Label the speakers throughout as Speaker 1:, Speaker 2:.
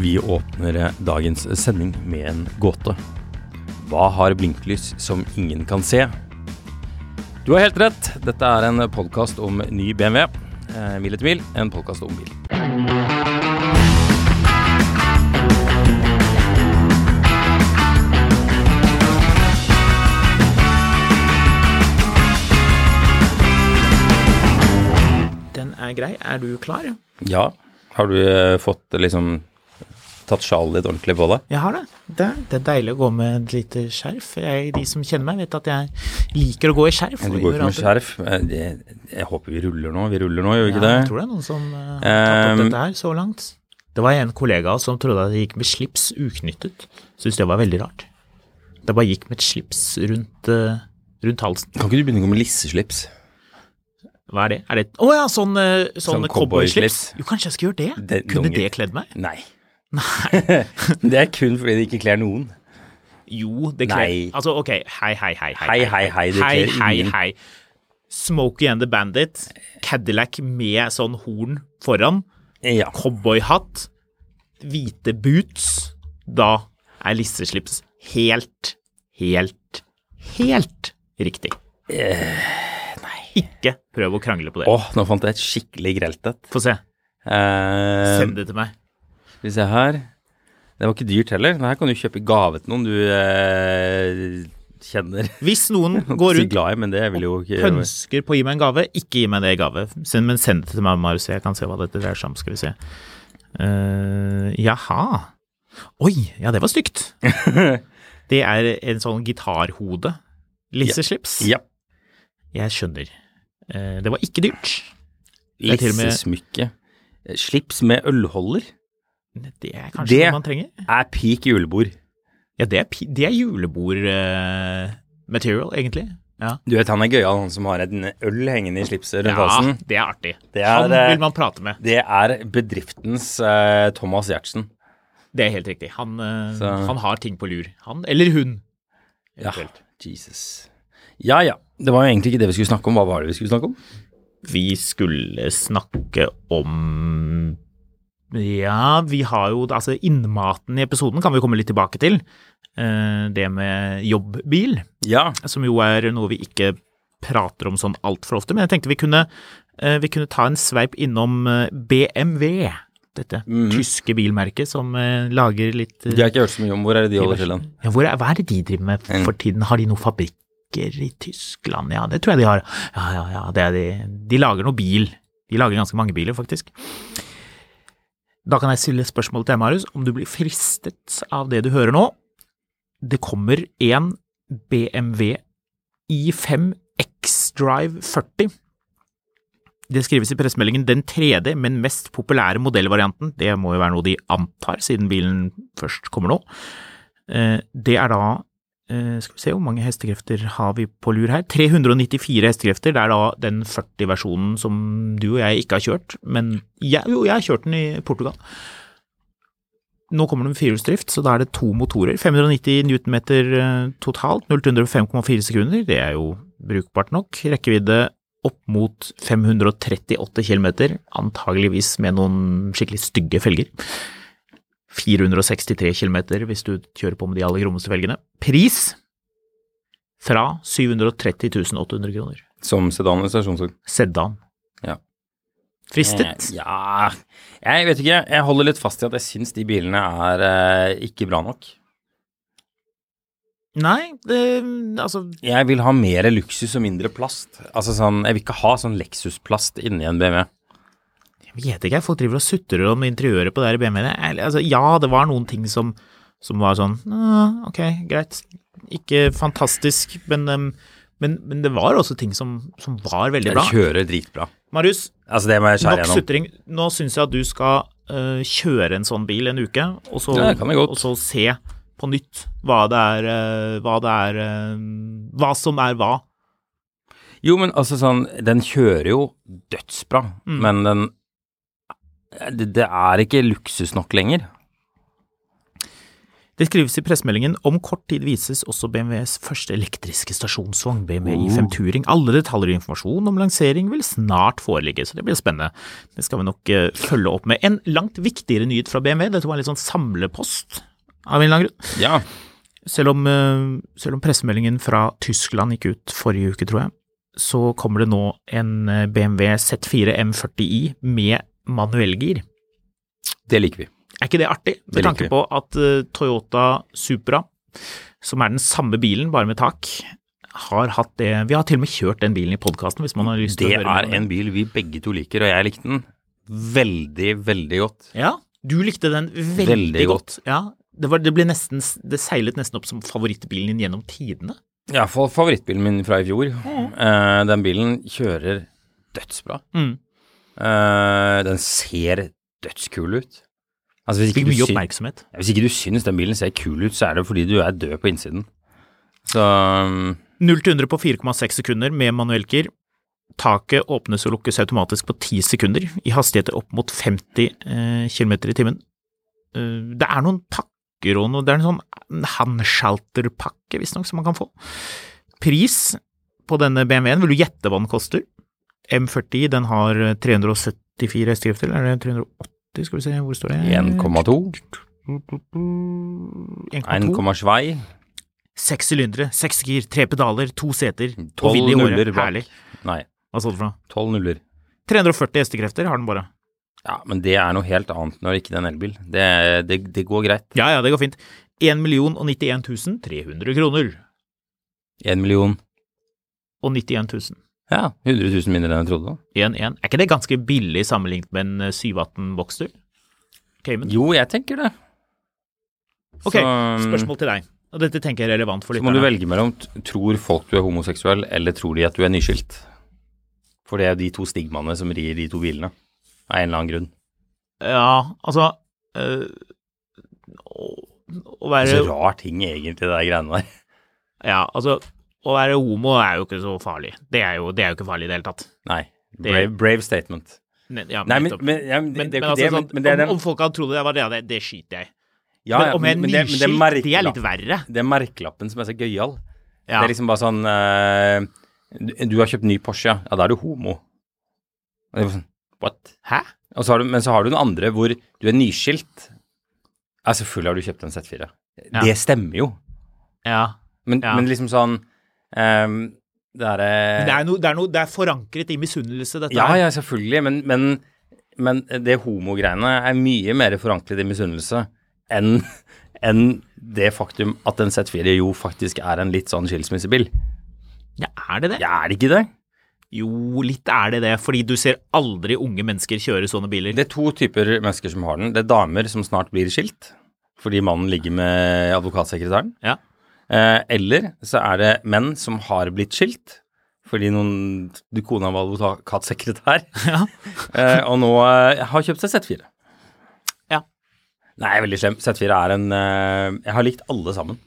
Speaker 1: Vi åpner dagens sending med en gåte. Hva har blinklys som ingen kan se? Du har helt rett. Dette er en podkast om ny BMW. Eh, Mil etter mil, en podkast om bil.
Speaker 2: Den er grei. Er du klar?
Speaker 1: Ja, har du eh, fått eh, liksom tatt sjalet ditt ordentlig på deg?
Speaker 2: Jeg har det. Det, det er deilig å gå med et lite skjerf. Jeg, de som kjenner meg, vet at jeg liker å gå i skjerf.
Speaker 1: Du går
Speaker 2: og gjør
Speaker 1: ikke med
Speaker 2: alltid-
Speaker 1: skjerf. Eh, Jeg, jeg håper vi ruller nå. Vi ruller nå, gjør vi ikke
Speaker 2: Ja,
Speaker 1: det?
Speaker 2: jeg tror det er noen som eh, har tatt opp
Speaker 1: Ehm.
Speaker 2: dette her så langt. Det var en kollega som trodde at jeg gikk med slips uknyttet. Syns det var veldig rart. Det bare gikk med et slips rundt, eh, rundt halsen.
Speaker 1: Kan ikke du begynne å gå med lisseslips?
Speaker 2: Hva er det? Er det Å ja, sånn, eh, sånn,
Speaker 1: Sånn
Speaker 2: cowboyslips.
Speaker 1: cowboyslips.
Speaker 2: Jo, kanskje jeg skal gjøre det?
Speaker 1: Det-
Speaker 2: Kunne
Speaker 1: donger.
Speaker 2: det kledd meg?
Speaker 1: Nei. det er kun fordi det ikke kler noen.
Speaker 2: Jo, det
Speaker 1: Nei.
Speaker 2: kler Altså, ok, hei, hei, hei.
Speaker 1: Hei, hei, hei, det
Speaker 2: hei,
Speaker 1: kler
Speaker 2: hei,
Speaker 1: ingen.
Speaker 2: hei. Smokey and the Bandit, Cadillac med sånn horn foran,
Speaker 1: Ja.
Speaker 2: cowboyhatt, hvite boots. Da er lisseslips helt, helt, helt riktig.
Speaker 1: Eh,
Speaker 2: Ikke prøv å krangle på det.
Speaker 1: Åh, nå fant jeg et skikkelig grelt et.
Speaker 2: Få se.
Speaker 1: Eh,
Speaker 2: Send det til meg.
Speaker 1: Skal vi se her. Det var ikke dyrt heller. Det her kan du kjøpe i gave til noen du eh, kjenner.
Speaker 2: Hvis noen
Speaker 1: Går
Speaker 2: går rundt
Speaker 1: glad i, men det vil jo ikke
Speaker 2: Pønsker på å gi meg en gave. Ikke gi meg det i gave, Send- men send det til meg, Marius. så Jeg kan se hva dette dreier seg om. Skal vi se. Eh, jaha. Oi, ja det var stygt. det er en sånn gitarhode. Lisseslips.
Speaker 1: Ja.
Speaker 2: Jeg skjønner. Eh, det var ikke dyrt. Det er til og med-
Speaker 1: Lissesmykke. Eh, Slips med ølholder
Speaker 2: Det er kanskje
Speaker 1: Det-
Speaker 2: det man trenger.
Speaker 1: er peak julebord.
Speaker 2: Ja, det er, pi- det er julebord-material, egentlig. Ja.
Speaker 1: Du vet han er gøyal, han som har en øl hengende i slipset rundt
Speaker 2: ja,
Speaker 1: halsen.
Speaker 2: det er artig.
Speaker 1: Det er,
Speaker 2: Han
Speaker 1: eh,
Speaker 2: vil man prate med.
Speaker 1: Det er bedriftens eh, Thomas Giertsen.
Speaker 2: Det er helt riktig. Han, eh,
Speaker 1: Så-
Speaker 2: han har ting på lur. Han eller hun.
Speaker 1: Ja,
Speaker 2: Eventuelt.
Speaker 1: Jesus. Ja ja. Det var jo egentlig ikke det vi skulle snakke om. Hva var det vi skulle snakke om?
Speaker 2: vi skulle snakke om Ja, vi har jo altså innmaten i episoden kan vi komme litt tilbake til. Eh, Det med jobbbil,
Speaker 1: Ja.
Speaker 2: som jo er noe vi ikke prater om sånn altfor ofte. Men jeg tenkte vi kunne, eh, vi kunne ta en sveip innom eh, BMW. Dette
Speaker 1: Mhm.
Speaker 2: tyske bilmerket som eh, lager litt eh,
Speaker 1: De har ikke hørt så mye om hvor er det de holder til den?
Speaker 2: ja, hvor er, hva er det de driver med
Speaker 1: Mm.
Speaker 2: for tiden? Har de noen fabrikker i Tyskland? Ja, det tror jeg de har. Ja, ja, ja, det er de. De lager noe bil. De lager ganske mange biler, faktisk. Da kan jeg stille et spørsmål til deg, Marius, om du blir fristet av det du hører nå. Det kommer en BMW i5 X-Drive 40. Det skrives i pressemeldingen den tredje, men mest populære modellvarianten. Det må jo være noe de antar, siden bilen først kommer nå. Eh, Det er da eh, Skal vi se hvor mange hestekrefter har vi på lur her? 394 hestekrefter. Det er da den 40-versjonen som du og jeg ikke har kjørt. Men jeg, jo, jeg har kjørt den i Portugal. Nå kommer det med firehjulsdrift, så da er det to motorer. 590 newtonmeter eh, totalt. 0 til 100 på 5,4 sekunder. Det er jo brukbart nok. Rekkevidde opp mot 538 km, antageligvis med noen skikkelig stygge felger. 463 km hvis du kjører på med de aller grommeste velgene. Pris fra 730 800 kroner.
Speaker 1: Som sedan eller stasjonsvogn?
Speaker 2: Sedan.
Speaker 1: Ja.
Speaker 2: Fristet?
Speaker 1: Eh, Ja Jeg vet ikke. Jeg holder litt fast i at jeg syns de bilene er eh, ikke bra nok.
Speaker 2: Nei, det, altså
Speaker 1: Jeg vil ha mer luksus og mindre plast. Altså sånn, Jeg vil ikke ha sånn Lexus-plast inni en BMW.
Speaker 2: Jeg vet ikke, folk driver og sutrer om interiøret på det her BMW-et. Eller, Altså, ja, det var noen ting som, som var sånn «Ah, Ok, greit. Ikke fantastisk, men, em, men, men det var også ting som, som var veldig
Speaker 1: Jeg
Speaker 2: bra.
Speaker 1: kjører dritbra.
Speaker 2: Marius,
Speaker 1: Altså Det må jeg skjære
Speaker 2: nok
Speaker 1: gjennom.
Speaker 2: sutring. Nå syns jeg at du skal eh, kjøre en sånn bil en uke, og så,
Speaker 1: Ja, det kan jeg godt.
Speaker 2: og så se på nytt hva det er eh, Hva det er eh, Hva som er hva.
Speaker 1: Jo, men altså sånn Den kjører jo dødsbra, men den det, det er ikke luksus nok lenger.
Speaker 2: Det skrives i pressemeldingen om kort tid vises også BMWs første elektriske stasjonsvogn, BMW
Speaker 1: Oh.
Speaker 2: i5 Touring. Alle detaljer og informasjon om lansering vil snart foreligge, så det blir spennende. Det skal vi nok eh, følge opp med. En langt viktigere nyhet fra BMW, dette var en litt sånn samlepost av en eller annen grunn.
Speaker 1: Ja.
Speaker 2: Selv om, eh, selv om pressemeldingen fra Tyskland gikk ut forrige uke, tror jeg, så kommer det nå en eh, BMW Z4 M40i med manuellgir.
Speaker 1: Det liker vi.
Speaker 2: Er ikke det artig,
Speaker 1: Det
Speaker 2: med
Speaker 1: liker
Speaker 2: tanke
Speaker 1: vi.
Speaker 2: på at eh, Toyota Supra, som er den samme bilen, bare med tak, har hatt det Vi har til og med kjørt den bilen i podkasten, hvis man har lyst til
Speaker 1: Det
Speaker 2: å høre mer
Speaker 1: er
Speaker 2: om
Speaker 1: en bil vi begge to liker, og jeg likte den veldig, veldig godt.
Speaker 2: Ja, du likte den veldig,
Speaker 1: Veldig
Speaker 2: godt. Ja, det, var, det, ble nesten, det seilet nesten opp som favorittbilen din gjennom tidene.
Speaker 1: Ja, fa- favorittbilen min fra i fjor.
Speaker 2: Mhm.
Speaker 1: Eh, den bilen kjører dødsbra.
Speaker 2: Mm.
Speaker 1: Eh, den ser dødskul ut. Altså, hvis, ikke
Speaker 2: Fikk
Speaker 1: du
Speaker 2: mye
Speaker 1: syn-
Speaker 2: oppmerksomhet.
Speaker 1: Ja, hvis ikke du syns den bilen ser kul ut, så er det fordi du er død på innsiden. Så mm,
Speaker 2: 0 til 100 på 4,6 sekunder med manuellgir. Taket åpnes og lukkes automatisk på 10 sekunder, i hastigheter opp mot 50 eh, km i timen. Eh, det er noen pakker og noe, det er en sånn handschalterpakke visstnok som man kan få. Pris på denne BMW-en, vil du gjette hva den koster? M40 den har 374 hestekrefter, eller er det 380, skal vi se, hvor står det?
Speaker 1: 1,2.
Speaker 2: 1,2.
Speaker 1: 1, svei.
Speaker 2: Seks sylindere, seks gir, tre pedaler, to seter, og
Speaker 1: Tolv
Speaker 2: vind i håret.
Speaker 1: nuller bak.
Speaker 2: Herlig.
Speaker 1: Nei,
Speaker 2: Hva så du for noe?
Speaker 1: tolv nuller.
Speaker 2: 340 hestekrefter har den bare.
Speaker 1: Ja, men det er noe helt annet når ikke det er en elbil. Det, det, det går greit.
Speaker 2: Ja, ja, det går fint. 1 091 300 kroner.
Speaker 1: Én million.
Speaker 2: Og 91 000.
Speaker 1: Ja, 100 000 mindre enn jeg trodde.
Speaker 2: 1, 1. Er ikke det ganske billig sammenlignet med en eh, 718 Boxster? Cayman?
Speaker 1: Jo, jeg tenker det.
Speaker 2: Ok,
Speaker 1: så- um,
Speaker 2: spørsmål til deg. Og dette tenker jeg er relevant for
Speaker 1: Så må du
Speaker 2: lytterne.
Speaker 1: velge mellom t- tror folk du er homoseksuell, eller tror de at du er nyskilt. For det er jo de to stigmaene som rir de to bilene, av en eller annen grunn.
Speaker 2: Ja, altså eh, å, å
Speaker 1: Det er
Speaker 2: være
Speaker 1: så Altså, rar ting egentlig, det der greiene der.
Speaker 2: Ja, altså å være homo er jo ikke så farlig. Det er jo, det er jo ikke farlig i det hele tatt.
Speaker 1: Nei.
Speaker 2: Det-
Speaker 1: Brave, brave statement.
Speaker 2: Ne- ja,
Speaker 1: Nei, men,
Speaker 2: nettopp.
Speaker 1: men, ja, men,
Speaker 2: Men-
Speaker 1: det er jo ikke
Speaker 2: men
Speaker 1: det,
Speaker 2: altså,
Speaker 1: men,
Speaker 2: sånn,
Speaker 1: men det er
Speaker 2: om,
Speaker 1: den
Speaker 2: om folk hadde trodd det var det, det, det skiter jeg i.
Speaker 1: ja, ja,
Speaker 2: men om jeg
Speaker 1: men det-
Speaker 2: er
Speaker 1: men det er
Speaker 2: nyskilt, det, er litt
Speaker 1: merkelappen-
Speaker 2: verre.
Speaker 1: Det er merkelappen som er så gøyal.
Speaker 2: Ja.
Speaker 1: Det er liksom bare sånn eh, du- Du har kjøpt ny Porsche, ja. Ja, da er du homo. Og det er bare sånn, What?
Speaker 2: Hæ?
Speaker 1: Og så har du, men så har du den andre hvor du er nyskilt. Ja, selvfølgelig har du kjøpt en Z4.
Speaker 2: Ja.
Speaker 1: Det stemmer jo.
Speaker 2: Ja.
Speaker 1: Men,
Speaker 2: Ja.
Speaker 1: men liksom sånn ehm, Det er, eh,
Speaker 2: Det er, noe- det, er noe- det er forankret i misunnelse, dette
Speaker 1: Ja,
Speaker 2: her.
Speaker 1: ja, selvfølgelig. Men, men, men det homogreiene er mye mer forankret i misunnelse enn enn det faktum at en Z4 jo faktisk er en litt sånn skilsmissebil.
Speaker 2: Ja, er det det?
Speaker 1: Ja, er det ikke det?
Speaker 2: Jo, litt er det det. Fordi du ser aldri unge mennesker kjøre sånne biler.
Speaker 1: Det er to typer mennesker som har den. Det er damer som snart blir skilt fordi mannen ligger med advokatsekretæren.
Speaker 2: Ja.
Speaker 1: Eh, eller så er det menn som har blitt skilt fordi noen du kona var advokatsekretær,
Speaker 2: Ja.
Speaker 1: eh, og nå eh, har kjøpt seg Z4.
Speaker 2: Ja.
Speaker 1: Nei, jeg er veldig slem. Z4 er en eh, Jeg har likt alle sammen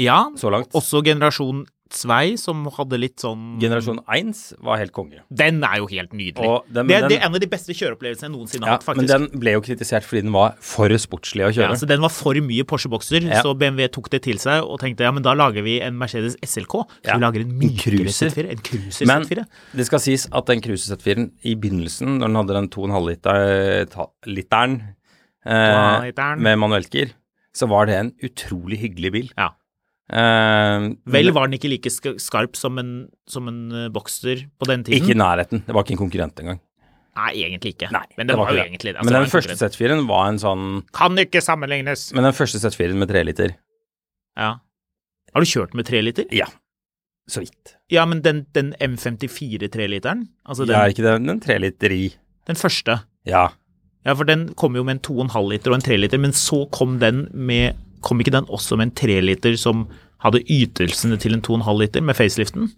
Speaker 2: ja.
Speaker 1: så langt.
Speaker 2: Også generasjon Svei, som hadde litt sånn
Speaker 1: Generasjon 1 var helt konge.
Speaker 2: Den er jo helt nydelig.
Speaker 1: Og den-
Speaker 2: det,
Speaker 1: men
Speaker 2: det
Speaker 1: den-
Speaker 2: er en av de beste kjøreopplevelsene jeg noensinne har
Speaker 1: Ja,
Speaker 2: hatt, faktisk.
Speaker 1: men den ble jo kritisert fordi den var for sportslig å kjøre.
Speaker 2: Ja, så den var for mye Porsche Boxer,
Speaker 1: Ja.
Speaker 2: så BMW tok det til seg og tenkte ja, men da lager vi en Mercedes SLK. Så
Speaker 1: Ja.
Speaker 2: vi lager en mykere
Speaker 1: Cruiser.
Speaker 2: Z4. En Cruiser
Speaker 1: Men
Speaker 2: Z4.
Speaker 1: det skal sies at den Cruiser Z4-en i begynnelsen, når den hadde den 2,5-literen eh,
Speaker 2: Literen.
Speaker 1: med manuellgir, så var det en utrolig hyggelig bil.
Speaker 2: Ja.
Speaker 1: Eh,
Speaker 2: Vel var den ikke like sk- skarp som en, som en eh, Boxster på den tiden.
Speaker 1: Ikke i nærheten. Det var ikke en konkurrent engang.
Speaker 2: Nei, egentlig ikke.
Speaker 1: Nei,
Speaker 2: men det, var, jo
Speaker 1: ikke
Speaker 2: egentlig det. Altså,
Speaker 1: men
Speaker 2: det var
Speaker 1: den
Speaker 2: en
Speaker 1: første
Speaker 2: konkurrent.
Speaker 1: Z4-en var en sånn
Speaker 2: Kan ikke sammenlignes!
Speaker 1: Men den første Z4-en med tre liter
Speaker 2: Ja. Har du kjørt med tre liter?
Speaker 1: Ja. Så vidt.
Speaker 2: Ja, men den, den M54 treliteren, altså den,
Speaker 1: Det er ikke det, den treliter i.
Speaker 2: den første
Speaker 1: Ja.
Speaker 2: Ja, for den kom jo med en 2,5 liter og en 3 liter, men så kom den med Kom ikke den også med en 3 liter som hadde ytelsene til en 2,5 liter med faceliften?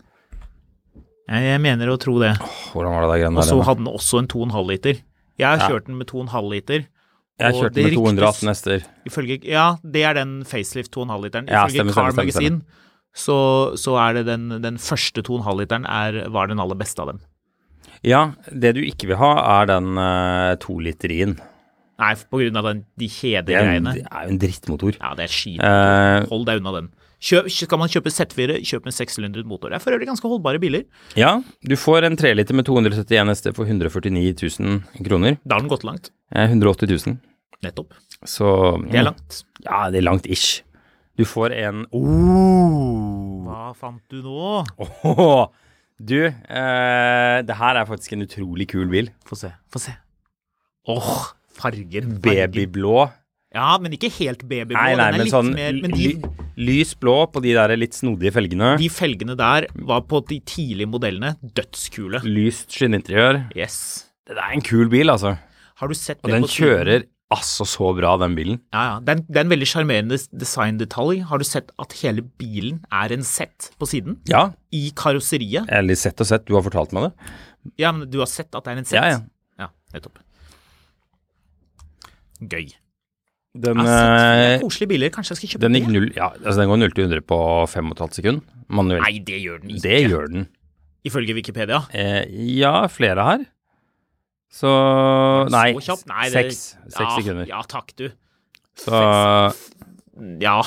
Speaker 2: Jeg jeg mener å tro det.
Speaker 1: Hvordan var det der greiene
Speaker 2: Og
Speaker 1: der?
Speaker 2: så
Speaker 1: igjen?
Speaker 2: hadde den også en 2,5 liter. Jeg har
Speaker 1: Ja.
Speaker 2: kjørt den med 2,5 liter.
Speaker 1: Jeg
Speaker 2: og
Speaker 1: kjørte
Speaker 2: det
Speaker 1: med 218
Speaker 2: ryktes-
Speaker 1: hester.
Speaker 2: Ifølge, ja, det er den facelift 2,5-literen.
Speaker 1: Ja,
Speaker 2: Ifølge
Speaker 1: stemmer,
Speaker 2: Car
Speaker 1: stemmer, stemmer,
Speaker 2: Magazine så, så er det den, den første 2,5-literen er- var den aller beste av dem.
Speaker 1: Ja, det du ikke vil ha, er den eh, toliterien.
Speaker 2: Nei, på grunn av den, de
Speaker 1: Det er jo en-
Speaker 2: kjedegreiene.
Speaker 1: det er jo en drittmotor.
Speaker 2: Ja, det er skit.
Speaker 1: Eh,
Speaker 2: Hold deg unna den. Kjøp, skal man kjøpe Z4, kjøp med 600 motor. Det er for øvrig ganske holdbare biler.
Speaker 1: ja, du får en treliter med 271 hester for 149 000 kroner.
Speaker 2: Da har den gått langt.
Speaker 1: Eh, 180 000.
Speaker 2: Nettopp.
Speaker 1: Så mm.
Speaker 2: Det er langt.
Speaker 1: Ja, det er langt ish. Du får en oh.
Speaker 2: Hva fant du nå?
Speaker 1: Åh. Du, eh, det her er faktisk en utrolig kul bil.
Speaker 2: Få se, få se. Åh, fargen. fargen.
Speaker 1: Babyblå.
Speaker 2: Ja, men ikke helt babyblå.
Speaker 1: Nei, nei,
Speaker 2: den er
Speaker 1: men
Speaker 2: litt
Speaker 1: sånn
Speaker 2: mer Men
Speaker 1: ly,
Speaker 2: de,
Speaker 1: lys blå på de der litt snodige felgene.
Speaker 2: de felgene der var på de tidlige modellene dødskule.
Speaker 1: Lyst skinninteriør.
Speaker 2: Yes.
Speaker 1: Det er en kul bil, altså.
Speaker 2: Har du sett
Speaker 1: Og
Speaker 2: det
Speaker 1: den
Speaker 2: på siden?
Speaker 1: kjører altså så bra, den bilen.
Speaker 2: Ja, ja. Det er, en- det er en veldig sjarmerende s- designdetalj. Har du sett at hele bilen er en Z på siden?
Speaker 1: Ja,
Speaker 2: I karosseriet?
Speaker 1: eller sett og sett, du har fortalt meg det.
Speaker 2: Ja, men du har sett at det er en Z?
Speaker 1: Ja, ja.
Speaker 2: Ja, nettopp. Gøy.
Speaker 1: Den,
Speaker 2: Jeg har
Speaker 1: eh,
Speaker 2: sett koselige biler. Kanskje jeg skal kjøpe
Speaker 1: den, gikk
Speaker 2: det?
Speaker 1: null, ja, altså den går 0 til 100 på 5,5 sekund. Manuelt.
Speaker 2: Nei, det gjør den ikke.
Speaker 1: det gjør den.
Speaker 2: Ifølge Wikipedia.
Speaker 1: Eh, ja, flere her. Så Nei,
Speaker 2: Så kjapt? Nei, det-
Speaker 1: seks, seks
Speaker 2: ja,
Speaker 1: sekunder.
Speaker 2: Ja, takk, du.
Speaker 1: Så
Speaker 2: Ja.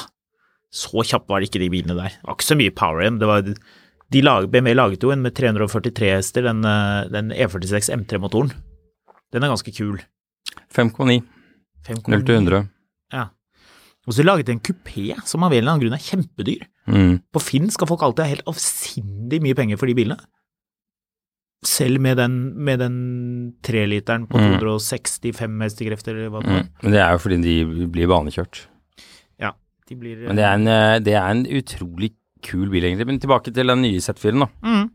Speaker 2: Så kjapp var det ikke de bilene der. Det var ikke så mye power igjen. Det var, de lag, BMW laget jo en med 343 hester, den, eh, den E46 M3-motoren. Den er ganske kul.
Speaker 1: 5,9. 0 til 100.
Speaker 2: Ja. Og så laget de en kupé som av en eller annen grunn er kjempedyr.
Speaker 1: Mm.
Speaker 2: På Finn skal folk alltid ha helt avsindig mye penger for de bilene. Selv med den, med den 3-literen på
Speaker 1: Mm.
Speaker 2: 265 hestekrefter eller hva det var.
Speaker 1: Mm. Men det er jo fordi de blir banekjørt.
Speaker 2: Ja, de blir
Speaker 1: Men det er en, eh, det er en utrolig kul bil, egentlig. Men tilbake til den nye Z4-en, da.
Speaker 2: Mm.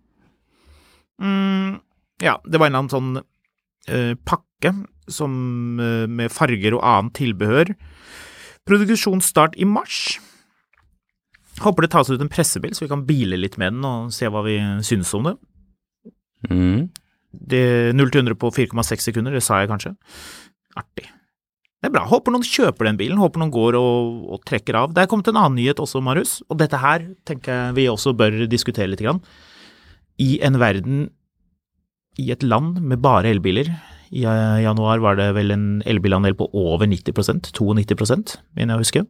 Speaker 2: Mm, ja, det var en eller annen sånn eh, pakke som, eh, med farger og annet tilbehør. Produksjonsstart i mars. Håper det tas ut en pressebil, så vi kan bile litt med den og se hva vi synes om det.
Speaker 1: Mm.
Speaker 2: det 0 til 100 på 4,6 sekunder, det sa jeg kanskje. Artig. Det er bra. Håper noen kjøper den bilen, håper noen går og, og trekker av. Det er kommet en annen nyhet også, Marius, og dette her tenker jeg vi også bør diskutere litt. Grann. I en verden, i et land med bare elbiler, i eh, januar var det vel en elbilandel på over 90 92 mener jeg å huske.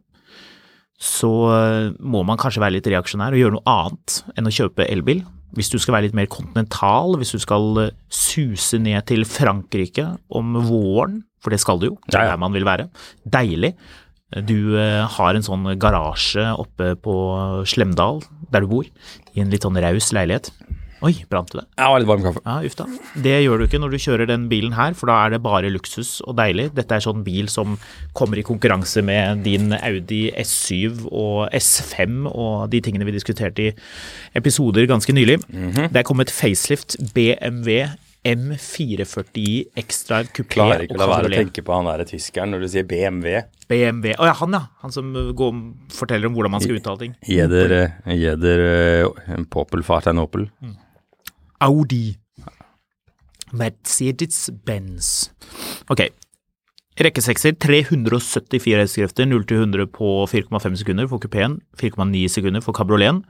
Speaker 2: Så eh, må man kanskje være litt reaksjonær og gjøre noe annet enn å kjøpe elbil. Hvis du skal være litt mer kontinental, hvis du skal eh, suse ned til Frankrike om våren, for det skal du jo, det
Speaker 1: Ja,
Speaker 2: er
Speaker 1: ja.
Speaker 2: der man vil være. Deilig. Du eh, har en sånn garasje oppe på Slemdal, der du bor, i en litt sånn raus leilighet. Oi, brant det?
Speaker 1: Jeg var litt varm kaffe.
Speaker 2: Ja, uff da. Det gjør du ikke når du kjører den bilen her, for da er det bare luksus og deilig. Dette er sånn bil som kommer i konkurranse med din Audi S7 og S5 og de tingene vi diskuterte i episoder ganske nylig.
Speaker 1: Mhm.
Speaker 2: Det er kommet facelift BMW M440 X-Drive Coupé
Speaker 1: Klarer ikke
Speaker 2: og
Speaker 1: å la være å
Speaker 2: Cabriolet.
Speaker 1: tenke på han der tyskeren når du sier BMW.
Speaker 2: BMW Å ja, han ja. Han som uh, går, forteller om hvordan man skal uttale ting.
Speaker 1: Jeder, eh, jeder eh, en Popel fart en Opel.
Speaker 2: Audi. Mercedes-Benz. Ok. Rekkesekser 374 hestekrefter, 0 til 100 på 4,5 sekunder for kupeen, 4,9 sekunder for kabrioleten.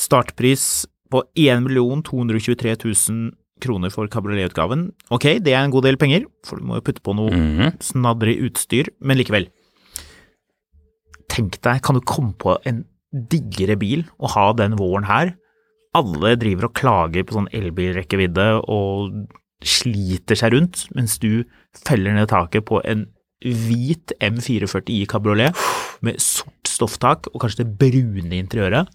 Speaker 2: Startpris på 1 223 000 kroner for kabrioletutgaven. Ok, det er en god del penger, for du må jo putte på noe snadrig utstyr, men likevel. Tenk deg, kan du komme på en diggere bil å ha den våren her? Alle driver og klager på sånn elbilrekkevidde og sliter seg rundt, mens du feller ned taket på en hvit M440 i kabriolet med sort stofftak og kanskje det brune interiøret.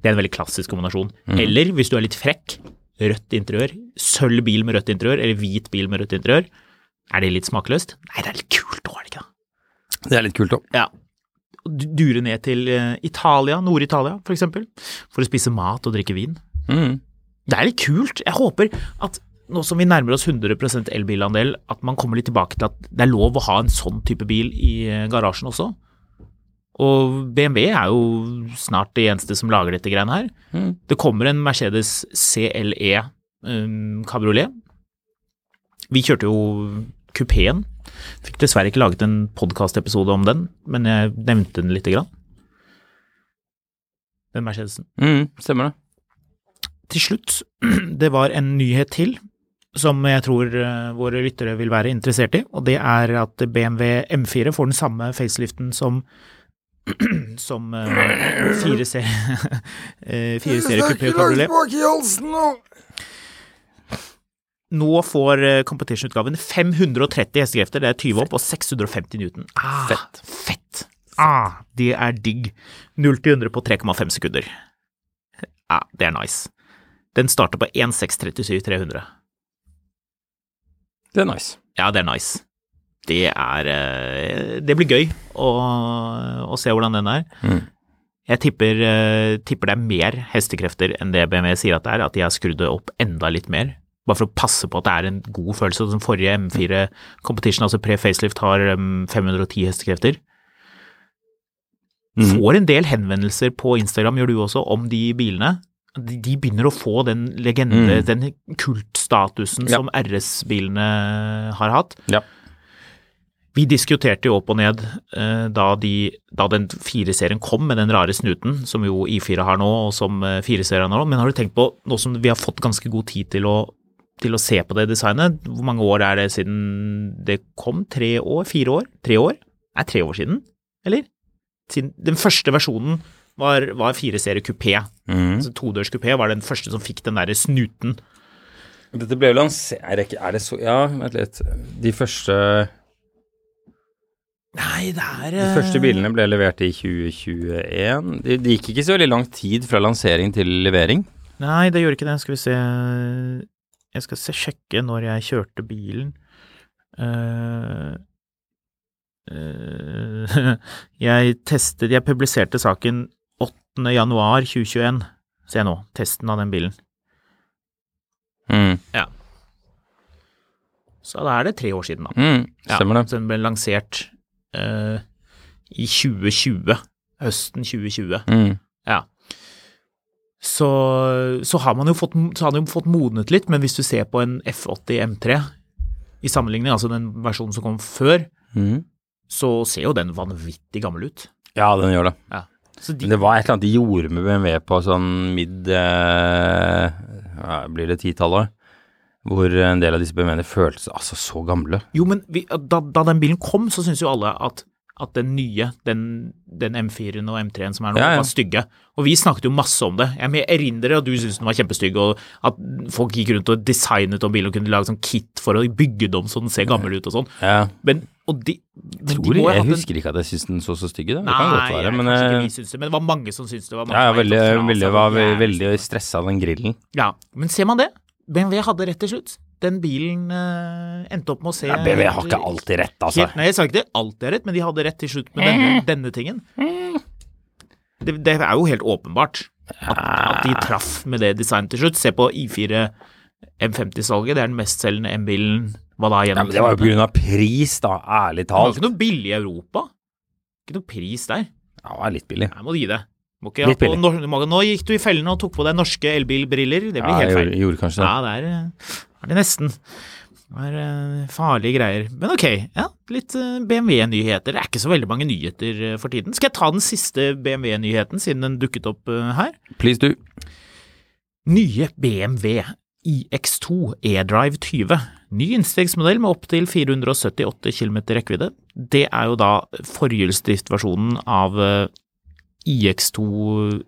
Speaker 2: Det er en veldig klassisk kombinasjon. Eller hvis du er litt frekk, rødt interiør. Sølv bil med rødt interiør, eller hvit bil med rødt interiør. Er det litt smakløst? Nei, det er litt kult òg, er det ikke det?
Speaker 1: Det er litt kult òg.
Speaker 2: Ja. Og du- Dure ned til eh, Italia, Nord-Italia for eksempel, for å spise mat og drikke vin.
Speaker 1: Mm.
Speaker 2: Det er litt kult. Jeg håper at nå som vi nærmer oss 100 elbilandel, at man kommer litt tilbake til at det er lov å ha en sånn type bil i eh, garasjen også. Og BMW er jo snart det eneste som lager dette greiene her.
Speaker 1: Mm.
Speaker 2: Det kommer en Mercedes CLE um, kabriolet. Vi kjørte jo kupeen. Fikk dessverre ikke laget en podkastepisode om den, men jeg nevnte den lite grann. Den Mercedesen
Speaker 1: Mm. Stemmer det.
Speaker 2: til slutt, det var en nyhet til som jeg tror eh, våre lyttere vil være interessert i, og det er at BMW M4 får den samme faceliften som som eh, 4C eh, 4-serie Coupé Cabriolet. Nå får eh, competition-utgaven 530 hestekrefter, det er 20 opp, og 650 newton. Ah,
Speaker 1: Fett.
Speaker 2: Fett. Ah, det er digg. 0 til 100 på 3,5 sekunder. Ja, det er nice. Den starter på 1637 300.
Speaker 1: Det er nice.
Speaker 2: Ja, det er nice. Det er eh, Det blir gøy å, å se hvordan den er.
Speaker 1: Mm.
Speaker 2: Jeg tipper, eh, tipper det er mer hestekrefter enn det BMW sier at det er, at de har skrudd det opp enda litt mer. Bare for å passe på at det er en god følelse. og Den forrige M4 Competition, altså pre-facelift, har um, em, 510 hestekrefter.
Speaker 1: Mhm.
Speaker 2: Får en del henvendelser på Instagram, gjør du også, om de bilene. De, de begynner å få den legende,
Speaker 1: Mhm.
Speaker 2: den kultstatusen
Speaker 1: Ja.
Speaker 2: som RS-bilene har hatt.
Speaker 1: Ja.
Speaker 2: Vi diskuterte jo opp og ned eh, da, de, da den 4-serien kom med den rare snuten, som jo I4 har nå, og som eh, 4-serien har nå. Men har du tenkt på, nå som vi har fått ganske god tid til å, til å se på det designet, hvor mange år er det siden det kom? Tre år? Fire år? Tre år? Nei, tre år siden, eller? Siden, den første versjonen var, var 4-serie kupé.
Speaker 1: Mm.
Speaker 2: Altså todørs kupé var den første som fikk den derre snuten.
Speaker 1: Dette ble jo lansert Er det ikke Er det så Ja, vent litt. De første,
Speaker 2: Nei, det er
Speaker 1: de
Speaker 2: eh,
Speaker 1: første bilene ble levert i 2021. Det det gikk ikke så veldig lang tid fra lansering til levering.
Speaker 2: Nei, det gjorde ikke det. Skal vi se Jeg skal se, sjekke når jeg kjørte bilen. Eh, eh, jeg testet Jeg publiserte saken 8. januar 2021. Se nå, testen av den bilen.
Speaker 1: Mm.
Speaker 2: Så da er det tre år siden, da.
Speaker 1: Mm. Stemmer det.
Speaker 2: Så den ble lansert eh, i 2020. Høsten 2020.
Speaker 1: Mm.
Speaker 2: Ja. Så, så, har man jo fått, så har den jo fått modnet litt, men hvis du ser på en F80 M3 i sammenligning, altså den versjonen som kom før,
Speaker 1: Mm.
Speaker 2: så ser jo den vanvittig gammel ut.
Speaker 1: Ja, den gjør det.
Speaker 2: Så de,
Speaker 1: Men det var et eller annet de gjorde med BMW på sånn midd eh, ja, Blir det titallet? Hvor en del av disse BMW-ene føltes altså så gamle.
Speaker 2: jo, men vi, da, da den bilen kom, så syns jo alle at, at den nye, den, den M4-en og M3-en som er nå,
Speaker 1: Ja, ja.
Speaker 2: var stygge. Og vi snakket jo masse om det. Jeg men jeg erindrer at du syntes den var kjempestygg, og at folk gikk rundt og designet om bilen og kunne lage sånn kit for å bygge det om så den ser gammel ut og sånn.
Speaker 1: Ja,
Speaker 2: Men, og de, men
Speaker 1: tror jeg,
Speaker 2: de må jo ha hatt en-
Speaker 1: husker ikke at jeg syntes den så så stygg ut. da. Det
Speaker 2: Nei,
Speaker 1: kan godt være,
Speaker 2: jeg-
Speaker 1: men
Speaker 2: kanskje ikke
Speaker 1: eh,
Speaker 2: vi syns det, men det var mange som syntes det. Var mange
Speaker 1: ja,
Speaker 2: som
Speaker 1: jeg veldig,
Speaker 2: helt
Speaker 1: veldig,
Speaker 2: oppstra-
Speaker 1: var ve-
Speaker 2: jævlig.
Speaker 1: veldig stressa av den grillen.
Speaker 2: Ja, men ser man det? BMW hadde rett til slutt. Den bilen eh, endte opp med å se
Speaker 1: Ja, BMW har ikke alltid rett, altså. Eh.
Speaker 2: Helt, nei, jeg sa ikke det. Alt er rett, men de hadde rett til slutt med denne, denne tingen. Det, det er jo helt åpenbart at, at de traff med det designet til slutt. Se på I4 M50-salget. Det er den mestselgende M-bilen hva da
Speaker 1: Ja,
Speaker 2: gjennom
Speaker 1: men det var jo på grunn av pris, da. Ærlig
Speaker 2: Det var
Speaker 1: talt.
Speaker 2: ikke noe billig i Europa. Ikke noe pris der.
Speaker 1: Ja, det var litt billig.
Speaker 2: Nei, må du gi det. Må ikke,
Speaker 1: Litt
Speaker 2: ha på
Speaker 1: billig.
Speaker 2: nor- du må, nå gikk du i fellen og tok på deg norske elbilbriller. Det blir
Speaker 1: Ja,
Speaker 2: helt
Speaker 1: jeg
Speaker 2: feil.
Speaker 1: gjorde, gjorde kanskje det.
Speaker 2: Ja, det er, eh, er det nesten. Det er eh, farlige greier. Men ok, ja, litt eh, BMW-nyheter. Det er ikke så veldig mange nyheter eh, for tiden. Skal jeg ta den siste BMW-nyheten, siden den dukket opp eh, her?
Speaker 1: Please do.
Speaker 2: Nye BMW iX2 E-Drive 20. Ny innstegsmodell med opptil 478 km rekkevidde. Det er jo da forhjulsdriftversjonen av eh, iX2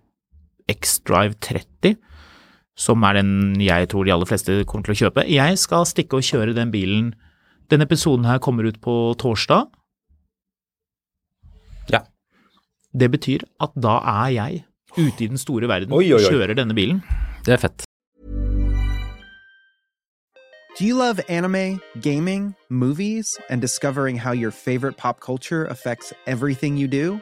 Speaker 2: X-Drive 30, som er den jeg tror de aller fleste kommer til å kjøpe. Jeg skal stikke og kjøre den bilen. Denne episoden her kommer ut på torsdag.
Speaker 1: Ja.
Speaker 2: Det betyr at da er jeg ute i den store verden
Speaker 1: Oi, oi,
Speaker 2: og
Speaker 1: oi.
Speaker 2: kjører denne bilen.
Speaker 1: Det er fett.
Speaker 3: Do you love anime, gaming, movies, and discovering how your favorite pop culture affects everything you do?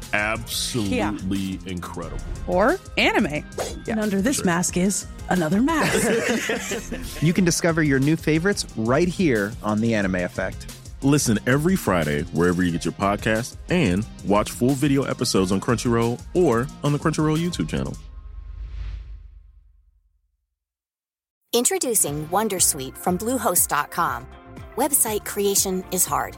Speaker 4: absolutely incredible.
Speaker 5: Or anime.
Speaker 6: And under this mask is another mask.
Speaker 3: you can discover your new favorites right here on The Anime Effect.
Speaker 4: Listen every Friday wherever you get your podcast and watch full video episodes on Crunchyroll or on the Crunchyroll YouTube channel.
Speaker 7: Introducing Wondersuite from Bluehost.com. Website creation is hard,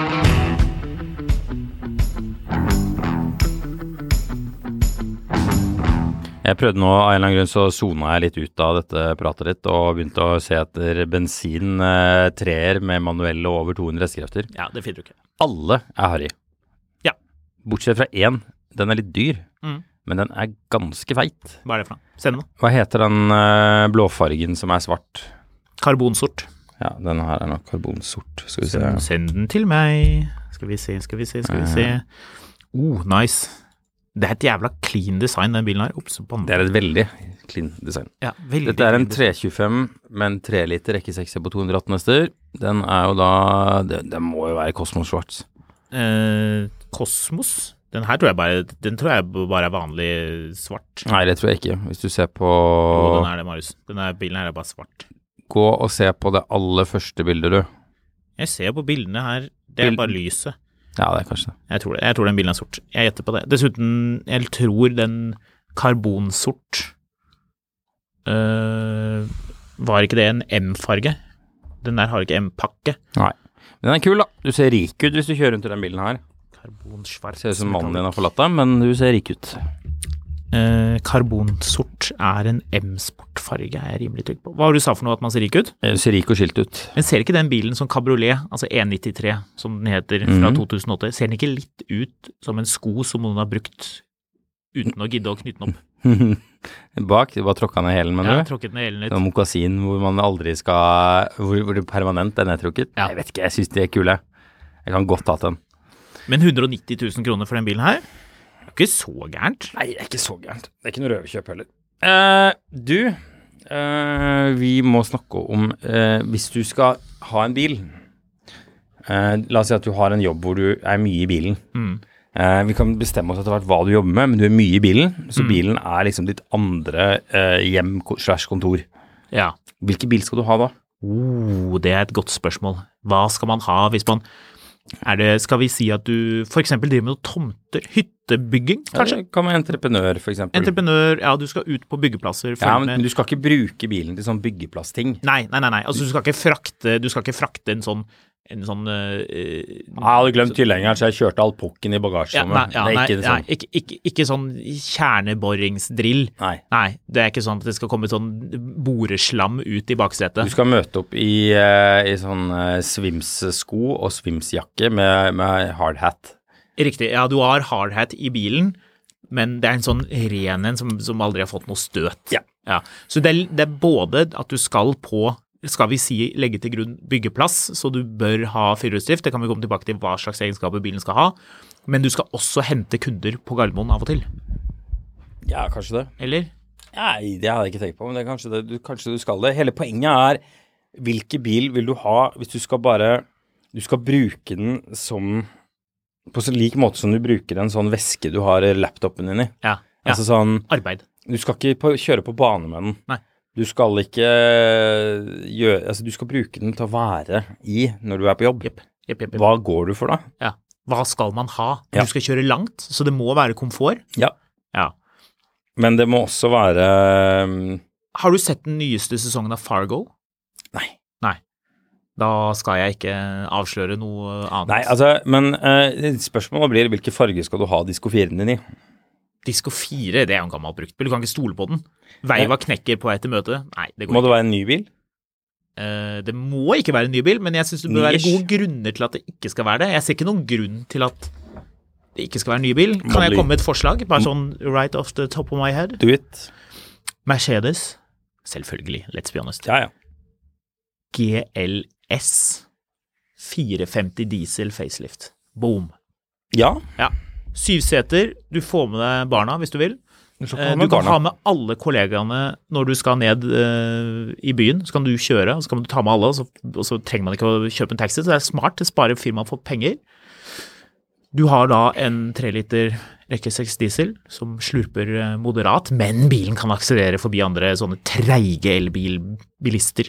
Speaker 1: Jeg prøvde nå, av en eller annen grunn så sona jeg litt ut av dette pratet litt, og begynte å se etter bensin, eh, treer med manuelle og over 200 hestekrefter.
Speaker 2: Ja, det finner du ikke.
Speaker 1: Alle er harry.
Speaker 2: Ja.
Speaker 1: Bortsett fra én. Den er litt dyr,
Speaker 2: Mm.
Speaker 1: men den er ganske feit.
Speaker 2: Hva er det for noe? Se nå.
Speaker 1: Hva heter den eh, blåfargen som er svart?
Speaker 2: Karbonsort.
Speaker 1: Ja, den her er nok karbonsort. Skal vi
Speaker 2: Send,
Speaker 1: se.
Speaker 2: send den til meg. Skal vi se, skal vi se, skal vi se. Oh, nice. Det er et jævla clean design, den bilen her. Ops, banne.
Speaker 1: Det er et veldig clean design.
Speaker 2: ja, veldig
Speaker 1: Dette er en
Speaker 2: clean design.
Speaker 1: 325 med en 3 liter rekkesekser på 218 hester. Den er jo da Det, det må jo være Cosmo Schwartz.
Speaker 2: Eh, Kosmos. Den her tror jeg bare, den tror jeg bare er vanlig svart.
Speaker 1: Nei, det tror jeg ikke. Hvis du ser på
Speaker 2: Jo, den er det, Marius. Den her bilen her er bare svart.
Speaker 1: Gå og se på det aller første bildet, du.
Speaker 2: Jeg ser på bildene her, det er
Speaker 1: Bil-
Speaker 2: bare lyset.
Speaker 1: Ja, det er kanskje det.
Speaker 2: Jeg tror, det. jeg tror den bilen er sort. Jeg gjetter på det. Dessuten, jeg tror den karbonsort øh, Var ikke det en M-farge? Den der har ikke M-pakke.
Speaker 1: Nei. Men den er kul, da. Du ser rik ut hvis du kjører rundt i den bilen her.
Speaker 2: Karbonsvart.
Speaker 1: Ser ut som mannen din har forlatt deg, men du ser rik ut.
Speaker 2: Eh, karbonsort er en M-sportfarge, er jeg rimelig trygg på. Hva var det du sa for noe, at man ser rik ut?
Speaker 1: Eh, Du ser rik og skilt ut.
Speaker 2: Men ser ikke den bilen som kabriolet, altså 193 som den heter fra
Speaker 1: Mhm.
Speaker 2: 2008, ser den ikke litt ut som en sko som noen har brukt uten å gidde å knytte den opp?
Speaker 1: Bak, du bare tråkka ned hælen,
Speaker 2: Jeg
Speaker 1: mener
Speaker 2: har
Speaker 1: du?
Speaker 2: tråkket ned hælen litt.
Speaker 1: Sånn mokasin hvor man aldri skal Hvor, hvor det permanent er nedtrukket.
Speaker 2: Ja.
Speaker 1: Jeg vet ikke, jeg syns de er kule. Jeg kan godt hatt den.
Speaker 2: Men 190 000 kroner for den bilen her? Det er ikke så gærent.
Speaker 1: Nei, det er ikke så gærent. Det er ikke noe røverkjøp heller. Eh, du, eh, vi må snakke om eh, Hvis du skal ha en bil eh, La oss si at du har en jobb hvor du er mye i bilen.
Speaker 2: Mm.
Speaker 1: Eh, vi kan bestemme oss etter hvert hva du jobber med, men du er mye i bilen.
Speaker 2: Mm.
Speaker 1: Så bilen er liksom ditt andre eh, hjem ko- slash kontor.
Speaker 2: Ja.
Speaker 1: Hvilken bil skal du ha da?
Speaker 2: Oh, det er et godt spørsmål. Hva skal man ha hvis man er det, Skal vi si at du f.eks. driver med noen tomter? Hyttebygging, kanskje?
Speaker 1: Ja, det kan være entreprenør, f.eks.
Speaker 2: Entreprenør, ja, du skal ut på
Speaker 1: Ja,
Speaker 2: byggeplasser. følge med.
Speaker 1: men du skal ikke bruke bilen til sånn byggeplassting.
Speaker 2: Nei, nei, nei. nei. Altså, du, skal ikke frakte, du skal ikke frakte en sånn, en sånn eh,
Speaker 1: Ah, Jeg hadde glemt tilhengeren, så jeg kjørte all pukken i
Speaker 2: ja, nei,
Speaker 1: bagasjerommet. det
Speaker 2: ja, nei,
Speaker 1: er ikke
Speaker 2: nei,
Speaker 1: sånn.
Speaker 2: ikke, ikke, ikke sånn kjerneboringsdrill.
Speaker 1: Nei.
Speaker 2: Det er ikke sånn at det skal komme sånn boreslam ut i baksetet.
Speaker 1: Du skal møte opp i, eh, i sånn eh, svimssko og svimsjakke med, med hard hat.
Speaker 2: Riktig. Ja, du har hardhat i bilen, men det er en sånn ren en som, som aldri har fått noe støt.
Speaker 1: Ja.
Speaker 2: Så det er, det er både at du skal på skal vi si legge til grunn byggeplass, så du bør ha firehjulsdrift. Det kan vi komme tilbake til hva slags egenskaper bilen skal ha. Men du skal også hente kunder på Gardermoen av og til.
Speaker 1: Ja, kanskje det.
Speaker 2: Eller?
Speaker 1: Nei, det hadde jeg ikke tenkt på, men det er kanskje, det, du, kanskje du skal det. Hele poenget er hvilken bil vil du ha hvis du skal bare Du skal bruke den som På så lik måte som du bruker en sånn veske du har eh, laptopen din i.
Speaker 2: Ja. ja.
Speaker 1: Altså sånn
Speaker 2: Arbeid.
Speaker 1: Du skal ikke på, kjøre på bane med den.
Speaker 2: Nei.
Speaker 1: Du skal ikke gjøre Altså, du skal bruke den til å være i når du er på jobb.
Speaker 2: Jepp. Jepp, jepp, jepp.
Speaker 1: Hva går du for, da?
Speaker 2: Ja. Hva skal man ha?
Speaker 1: Ja.
Speaker 2: Du skal kjøre langt, så det må være komfort.
Speaker 1: Ja.
Speaker 2: Ja.
Speaker 1: Men det må også være um,
Speaker 2: Har du sett den nyeste sesongen av Fargo?
Speaker 1: Nei.
Speaker 2: Nei. Da skal jeg ikke avsløre noe annet.
Speaker 1: Nei, altså, men eh, spørsmålet blir hvilke farger skal du ha Disko 4-en din i?
Speaker 2: Disko 4, det er jo en gammel bruktbil. Du kan ikke stole på den. Veiva knekker på vei til møtet. Nei, det går
Speaker 1: Må
Speaker 2: ikke.
Speaker 1: det være en ny bil?
Speaker 2: Eh, Det må ikke være en ny bil, men jeg syns det bør være
Speaker 1: Niche.
Speaker 2: gode grunner til at det ikke skal være det. Jeg ser ikke noen grunn til at det ikke skal være en ny bil. Kan jeg
Speaker 1: Molly.
Speaker 2: komme med et forslag? Bare sånn right off the top of my head.
Speaker 1: Do it.
Speaker 2: Mercedes. Selvfølgelig, let's be honest.
Speaker 1: Ja, ja.
Speaker 2: GLS 450 diesel facelift. Boom.
Speaker 1: Ja,
Speaker 2: Ja. Syv seter. Du får med deg barna hvis du vil.
Speaker 1: så
Speaker 2: Eh,
Speaker 1: kan
Speaker 2: Du
Speaker 1: du
Speaker 2: kan
Speaker 1: barna.
Speaker 2: ha med alle kollegaene når du skal ned eh, i byen. Så kan du kjøre, og så kan du ta med alle, og så, og så trenger man ikke å kjøpe en taxi. Så det er smart. Det sparer firmaet for penger. Du har da en 3 liter rekke 6 diesel som slurper eh, moderat, men bilen kan akselerere forbi andre sånne treige elbilbilister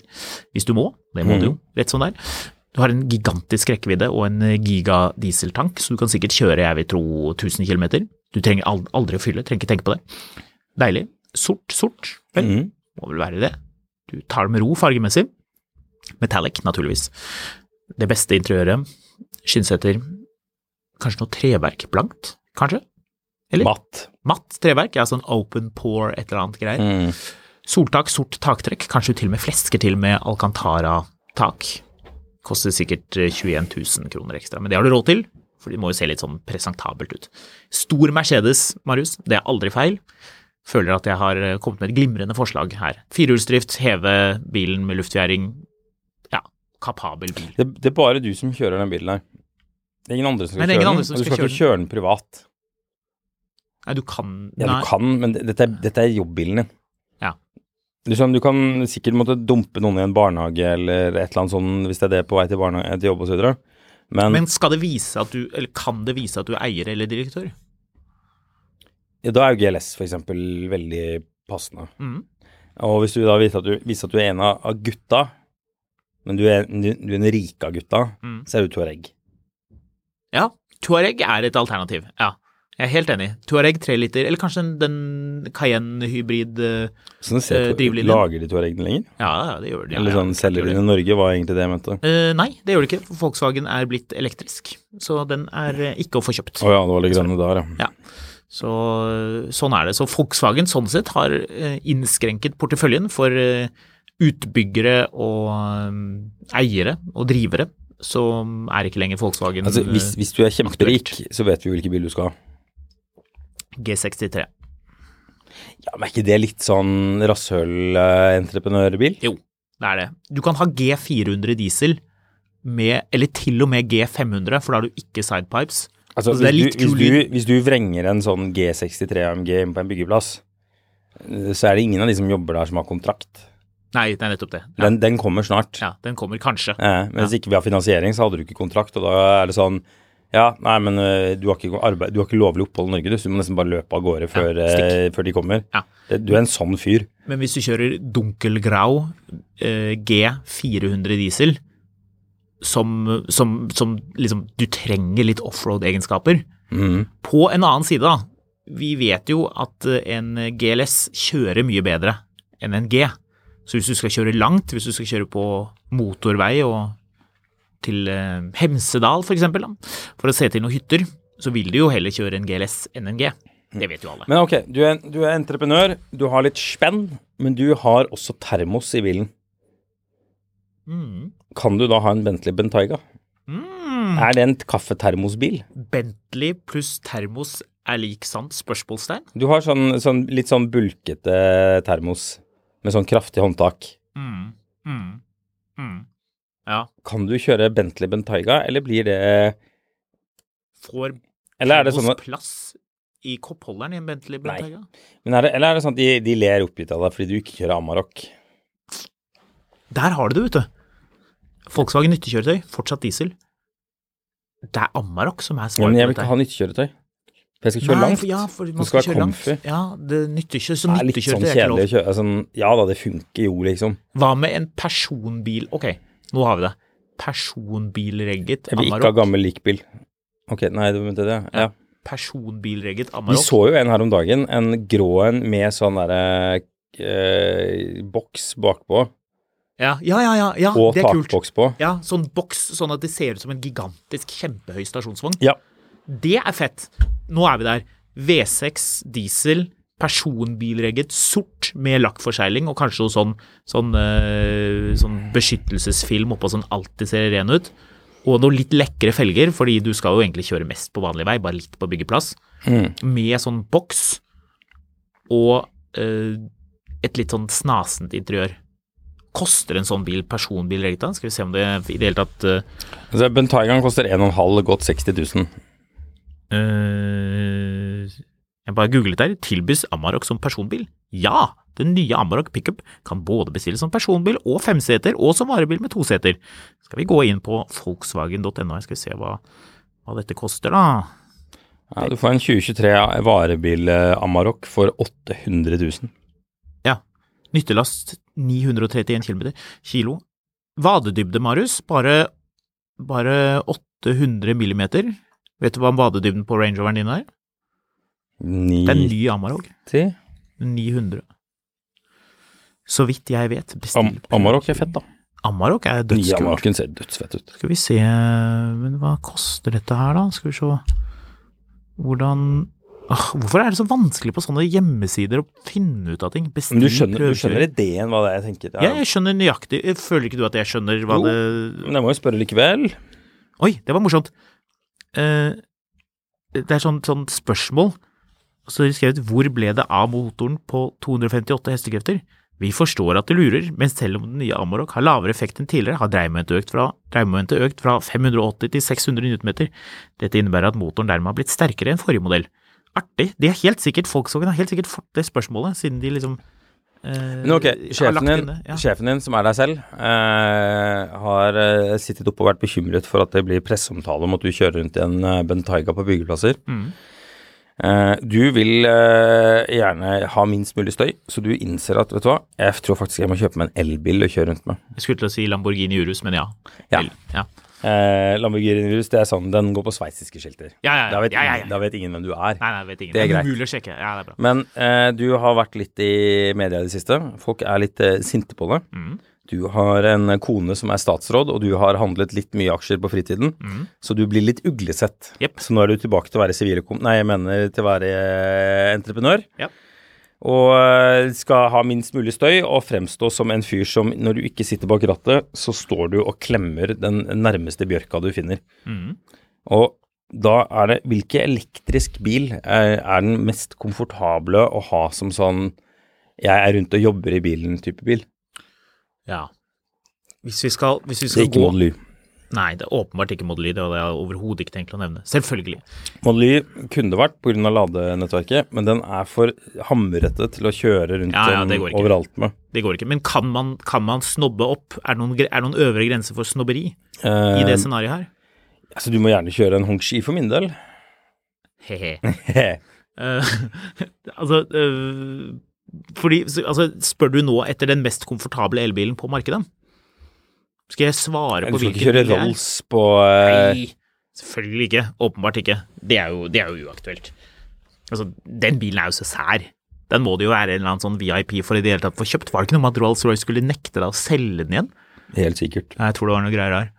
Speaker 2: hvis du må. Det må du jo, rett som det er. Du har en gigantisk rekkevidde og en gigadieseltank, så du kan sikkert kjøre jeg vil tro 1000 km. Du trenger al- aldri å fylle, trenger ikke tenke på det. Deilig. Sort, sort. Vel,
Speaker 1: Mhm.
Speaker 2: må vel være det. Du tar det med ro fargemessig. Metallic, naturligvis. Det beste interiøret. Skinnseter. Kanskje noe treverk. Blankt, kanskje? Eller?
Speaker 1: Matt.
Speaker 2: Matt treverk. Ja, sånn open pore, et eller annet greier.
Speaker 1: Mm.
Speaker 2: Soltak, sort taktrekk. Kanskje du til og med flesker til med Alcantara-tak. Koster sikkert eh, 21 000 kroner ekstra, men det har du råd til. For det må jo se litt sånn presentabelt ut. Stor Mercedes, Marius. Det er aldri feil. Føler at jeg har eh, kommet med et glimrende forslag her. Firehjulsdrift, heve bilen med luftfjæring. Ja, kapabel bil.
Speaker 1: Det, det er bare du som kjører den bilen her. Det er ingen andre som skal
Speaker 2: Men det er ingen
Speaker 1: kjøre
Speaker 2: andre
Speaker 1: den,
Speaker 2: som
Speaker 1: og du
Speaker 2: skal
Speaker 1: skal ikke kjøre den privat.
Speaker 2: Nei, du kan
Speaker 1: Ja,
Speaker 2: Nei.
Speaker 1: du kan, men det- dette er, dette er jobbbilen din.
Speaker 2: Ja.
Speaker 1: Liksom, du kan sikkert måtte dumpe noen i en barnehage eller et eller annet sånn, hvis det er det på vei til, barnehage, til jobb og så videre. Men,
Speaker 2: Men skal det vise at du Eller kan det vise at du er eier eller direktør?
Speaker 1: ja, da er jo GLS for eksempel veldig passende.
Speaker 2: Mhm.
Speaker 1: Og hvis du da viser at du, viser at du er en av av gutta, men du er, du, du er en rike av gutta,
Speaker 2: Mhm.
Speaker 1: så er du Touareg.
Speaker 2: Ja, Touareg er et alternativ. Ja, jeg er helt enig. Touareg 3 liter, eller kanskje den, den Cayenne-hybrid eh,
Speaker 1: Sånn ser
Speaker 2: Eh,
Speaker 1: du,
Speaker 2: drivlinjen.
Speaker 1: lager de Touaregene lenger?
Speaker 2: Ja, ja, det gjør det.
Speaker 1: Eller sånn selger de den i Norge, var egentlig det jeg mente.
Speaker 2: nei, det gjør det ikke. for Volkswagen er blitt elektrisk, så den er eh, ikke å få kjøpt.
Speaker 1: Å ja, det var litt grønne der, ja.
Speaker 2: Ja. Så eh, sånn er det. Så Volkswagen sånn sett har eh, innskrenket porteføljen for eh, utbyggere og eh, eiere og drivere, som er ikke lenger Volkswagen
Speaker 1: Altså, hvis,
Speaker 2: eh,
Speaker 1: hvis du er kjemperik, så vet vi hvilken bil du skal ha.
Speaker 2: eh, G63.
Speaker 1: Ja, men er ikke det litt sånn eh, rasshøl-entreprenørbil?
Speaker 2: Jo, det er det. Du kan ha G400 diesel med, eller til og med G500, for da har du ikke sidepipes.
Speaker 1: Altså,
Speaker 2: Altså, det er
Speaker 1: hvis,
Speaker 2: litt
Speaker 1: du,
Speaker 2: kul
Speaker 1: hvis,
Speaker 2: lyd.
Speaker 1: du, hvis du vrenger en sånn G63 AMG inn på en byggeplass, eh, så er det ingen av de som jobber der som har kontrakt.
Speaker 2: Nei, det er nettopp det. Ja,
Speaker 1: Den, den kommer snart.
Speaker 2: ja, den kommer kanskje.
Speaker 1: Eh, men hvis ikke vi har finansiering, så hadde du ikke kontrakt, og da er det sånn ja, nei, men eh, du har, ikke arbeid, du har ikke lovlig opphold i Norge, du, så du må nesten bare løpe av gårde før, eh, før de kommer.
Speaker 2: Ja.
Speaker 1: Det- Du er en sånn fyr.
Speaker 2: Men hvis du kjører dunkelgrau eh, G400 diesel, som, som, som liksom du trenger litt offroad-egenskaper På en annen side, da. Vi vet jo at eh, en GLS kjører mye bedre enn en G. Så hvis du skal kjøre langt, hvis du skal kjøre på motorvei og til eh, Hemsedal f.eks., for å se til noen hytter, så vil du jo heller kjøre en GLS enn en G. Det vet jo alle.
Speaker 1: Men ok, du er, du er entreprenør, du har litt spenn, men du har også termos i bilen.
Speaker 2: Mm.
Speaker 1: Kan du da ha en Bentley Bentayga? Er det en kaffetermosbil?
Speaker 2: Bentley pluss termos er lik sant? Spørsmålstegn?
Speaker 1: Du har sånn, sånn litt sånn bulkete termos med sånn kraftig håndtak.
Speaker 2: Mm. Mm. Mm. Ja.
Speaker 1: Kan du kjøre Bentley Bentayga, eller blir det
Speaker 2: Får
Speaker 1: Eller er det
Speaker 2: termos
Speaker 1: sånn at,
Speaker 2: plass i koppholderen i en Bentley
Speaker 1: Nei.
Speaker 2: Bentayga?
Speaker 1: men er det, eller er det sånn at de, de ler oppgitt av deg fordi du ikke kjører Amarok?
Speaker 2: Der har du det, vet du. Volkswagen nyttekjøretøy, fortsatt diesel. Det er Amarok som er
Speaker 1: Ja,
Speaker 2: svaret
Speaker 1: men jeg
Speaker 2: på
Speaker 1: vil
Speaker 2: dette.
Speaker 1: ikke ha nyttekjøretøy. For jeg skal kjøre
Speaker 2: Nei,
Speaker 1: langt.
Speaker 2: for- Ja, for
Speaker 1: Det
Speaker 2: man
Speaker 1: skal
Speaker 2: skal,
Speaker 1: være
Speaker 2: kjøre langt.
Speaker 1: comfy.
Speaker 2: Ja, det nyttekjøretøy som
Speaker 1: Det er litt sånn
Speaker 2: nyttekjøretøy er ikke
Speaker 1: kjedelig å sånn,
Speaker 2: lov.
Speaker 1: kjøre. Altså, ja da, det funker jo, liksom.
Speaker 2: Hva med en personbil? Ok, nå har vi det. personbilregget
Speaker 1: Jeg vil ikke ha
Speaker 2: Amarok.
Speaker 1: gammel likbil. Ok, nei, det mente det. Ja. Vi
Speaker 2: Personbilregget Amarok.
Speaker 1: så jo en her om dagen, en grå en med sånn derre eh, boks bakpå,
Speaker 2: Ja, ja, ja. ja, ja
Speaker 1: og
Speaker 2: Ah, det er kult.
Speaker 1: takboks på.
Speaker 2: Ja, sånn boks, sånn at det ser ut som en gigantisk, kjempehøy stasjonsvogn.
Speaker 1: Ja.
Speaker 2: Det er fett. Nå er vi der. V6, diesel, personbilregget, sort med lakkforsegling og kanskje noe sånn, sånn, eh, sånn beskyttelsesfilm oppå sånn alltid ser ren ut. Og noe litt lekre felger, fordi du skal jo egentlig kjøre mest på vanlig vei, bare litt på byggeplass. Med sånn boks og eh, et litt sånn snasent interiør. Koster en sånn bil personbil regget da? Skal vi se om det i det hele tatt eh,
Speaker 1: Altså, Bentaygaen koster 1,5, godt 60 000.
Speaker 2: eh, Jeg bare googlet der. Tilbys Amarok som personbil? Ja! Den nye Amarok pickup kan både bestilles som personbil og femseter, og som varebil med toseter. Skal vi gå inn på volkswagen.no, skal vi se hva, hva dette koster, da.
Speaker 1: Ja, du får en 2023 varebil eh, Amarok for 800 000.
Speaker 2: Ja. Nyttelast 931 km. Kilo. Vadedybde, Marius. Bare, bare 800 millimeter. Vet du hva vadedybden på Range Roveren din er? Det er en
Speaker 1: 90
Speaker 2: ny Amarok. 900. Så vidt jeg vet. bestill-
Speaker 1: Am Amarok er fett, da.
Speaker 2: Amarok er
Speaker 1: Nye
Speaker 2: dødskult.
Speaker 1: Amaroken ser dødsfett ut.
Speaker 2: Skal vi se Men hva koster dette her, da? Skal vi se Hvordan Åh, Hvorfor er det så vanskelig på sånne hjemmesider å finne ut av ting? Bestill
Speaker 1: Men du skjønner, du
Speaker 2: prøvekjøring.
Speaker 1: skjønner ideen, hva det er jeg tenker?
Speaker 2: Ja, jeg skjønner nøyaktig. Føler ikke du at jeg skjønner hva
Speaker 1: Jo.
Speaker 2: det
Speaker 1: Men jeg må jo spørre likevel.
Speaker 2: Oi, det var morsomt. Eh, det er sånn, sånn spørsmål. Så har de skrevet 'Hvor ble det av motoren på 258 hestekrefter?' Vi forstår at du lurer, men selv om den nye Amarok har lavere effekt enn tidligere, har dreiemomentet økt fra, dreiemomentet økt fra 580 til 600 Nm. Dette innebærer at motoren dermed har blitt sterkere enn forrige modell. Artig. De er helt sikkert, Volkswagen har helt sikkert fått det spørsmålet, siden de liksom eh,
Speaker 1: Men ok,
Speaker 2: har lagt
Speaker 1: sjefen din,
Speaker 2: inn det, ja.
Speaker 1: sjefen din som er deg selv, eh, har eh, sittet oppe og vært bekymret for at det blir presseomtale om at du kjører rundt i en eh, Bentayga på byggeplasser. Eh, du vil eh, gjerne ha minst mulig støy, så du innser at, vet du hva, jeg tror faktisk jeg må kjøpe meg en elbil å kjøre rundt med.
Speaker 2: Jeg skulle til å si Lamborghini Urus, men ja.
Speaker 1: Ja.
Speaker 2: Vel, ja.
Speaker 1: Eh, Lamborghini Urus, det er sånn, den går på sveitsiske skilter.
Speaker 2: Ja, ja, ja.
Speaker 1: Da, vet
Speaker 2: Ja, ja, ja.
Speaker 1: ingen- da vet ingen hvem du er.
Speaker 2: Nei, nei, vet ingen.
Speaker 1: Det er greit.
Speaker 2: Mulig å sjekke. Ja, det er bra.
Speaker 1: Men eh, du har vært litt i media i det siste. Folk er litt eh, sinte på det.
Speaker 2: Mm.
Speaker 1: Du har en kone som er statsråd, og du har handlet litt mye aksjer på fritiden.
Speaker 2: Mm.
Speaker 1: Så du blir litt uglesett.
Speaker 2: Jepp.
Speaker 1: Så nå er du tilbake til å være siviløkonom... Nei, jeg mener til å være eh, entreprenør.
Speaker 2: Ja.
Speaker 1: Og eh, skal ha minst mulig støy og fremstå som en fyr som når du ikke sitter bak rattet, så står du og klemmer den nærmeste bjørka du finner. Og da er det Hvilken elektrisk bil er, er den mest komfortable å ha som sånn jeg er rundt og jobber i bilen-type bil?
Speaker 2: Ja. Hvis vi skal, hvis vi
Speaker 1: Det er
Speaker 2: skal
Speaker 1: ikke
Speaker 2: gå
Speaker 1: Model Y.
Speaker 2: Nei, det er åpenbart ikke Model Y. Det hadde jeg overhodet ikke tenkt å nevne. Selvfølgelig.
Speaker 1: Model Y kunne det vært pga. ladenettverket, men den er for hamrete til å kjøre rundt
Speaker 2: Ja, ja,
Speaker 1: om
Speaker 2: det går ikke.
Speaker 1: overalt med.
Speaker 2: Det går ikke. Men kan man, kan man snobbe opp? Er det noen, gre- er det noen øvre grenser for snobberi i
Speaker 1: Eh,
Speaker 2: det scenarioet her?
Speaker 1: Så Altså, du må gjerne kjøre en Hongxi for min del.
Speaker 2: He-he.
Speaker 1: ja,
Speaker 2: Eh, altså, eh, fordi, så- altså, spør du nå etter den mest komfortable elbilen på markedet? Skal jeg svare
Speaker 1: du
Speaker 2: på
Speaker 1: skal
Speaker 2: hvilken
Speaker 1: ikke kjøre
Speaker 2: bil det er?
Speaker 1: Rolls på eh,
Speaker 2: Nei, selvfølgelig ikke. Åpenbart ikke. Det er jo, det er jo uaktuelt. Altså, den bilen er jo så sær. Den må det jo være en eller annen sånn VIP for i det hele tatt å få kjøpt. Var det ikke noe med at Rolls-Royce skulle nekte deg å selge den igjen?
Speaker 1: eh, Helt sikkert.
Speaker 2: Nei, Jeg tror det var noe greier her.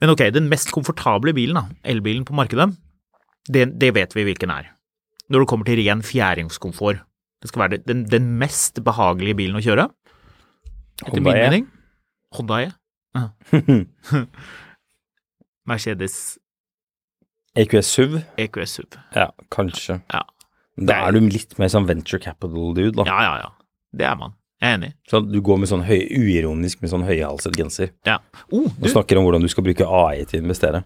Speaker 2: Men ok, den mest komfortable bilen, da, elbilen på markedet, det, det vet vi hvilken er. Når det kommer til ren fjæringskomfort. Det skal være det- den, den mest behagelige bilen å kjøre, etter min
Speaker 1: E.
Speaker 2: mening. Honda E. Ja. Mercedes E
Speaker 1: EQS SUV?
Speaker 2: EQS SUV.
Speaker 1: Ja, kanskje.
Speaker 2: Ja.
Speaker 1: Men Da
Speaker 2: Nei.
Speaker 1: er du litt mer sånn venture capital-dude, da.
Speaker 2: Ja, ja, ja. Det er man. Jeg er enig.
Speaker 1: Så du går med sånn høy, uironisk med sånn høyhalset genser
Speaker 2: Ja. Oh,
Speaker 1: og
Speaker 2: du,
Speaker 1: snakker om hvordan du skal bruke AI til å investere.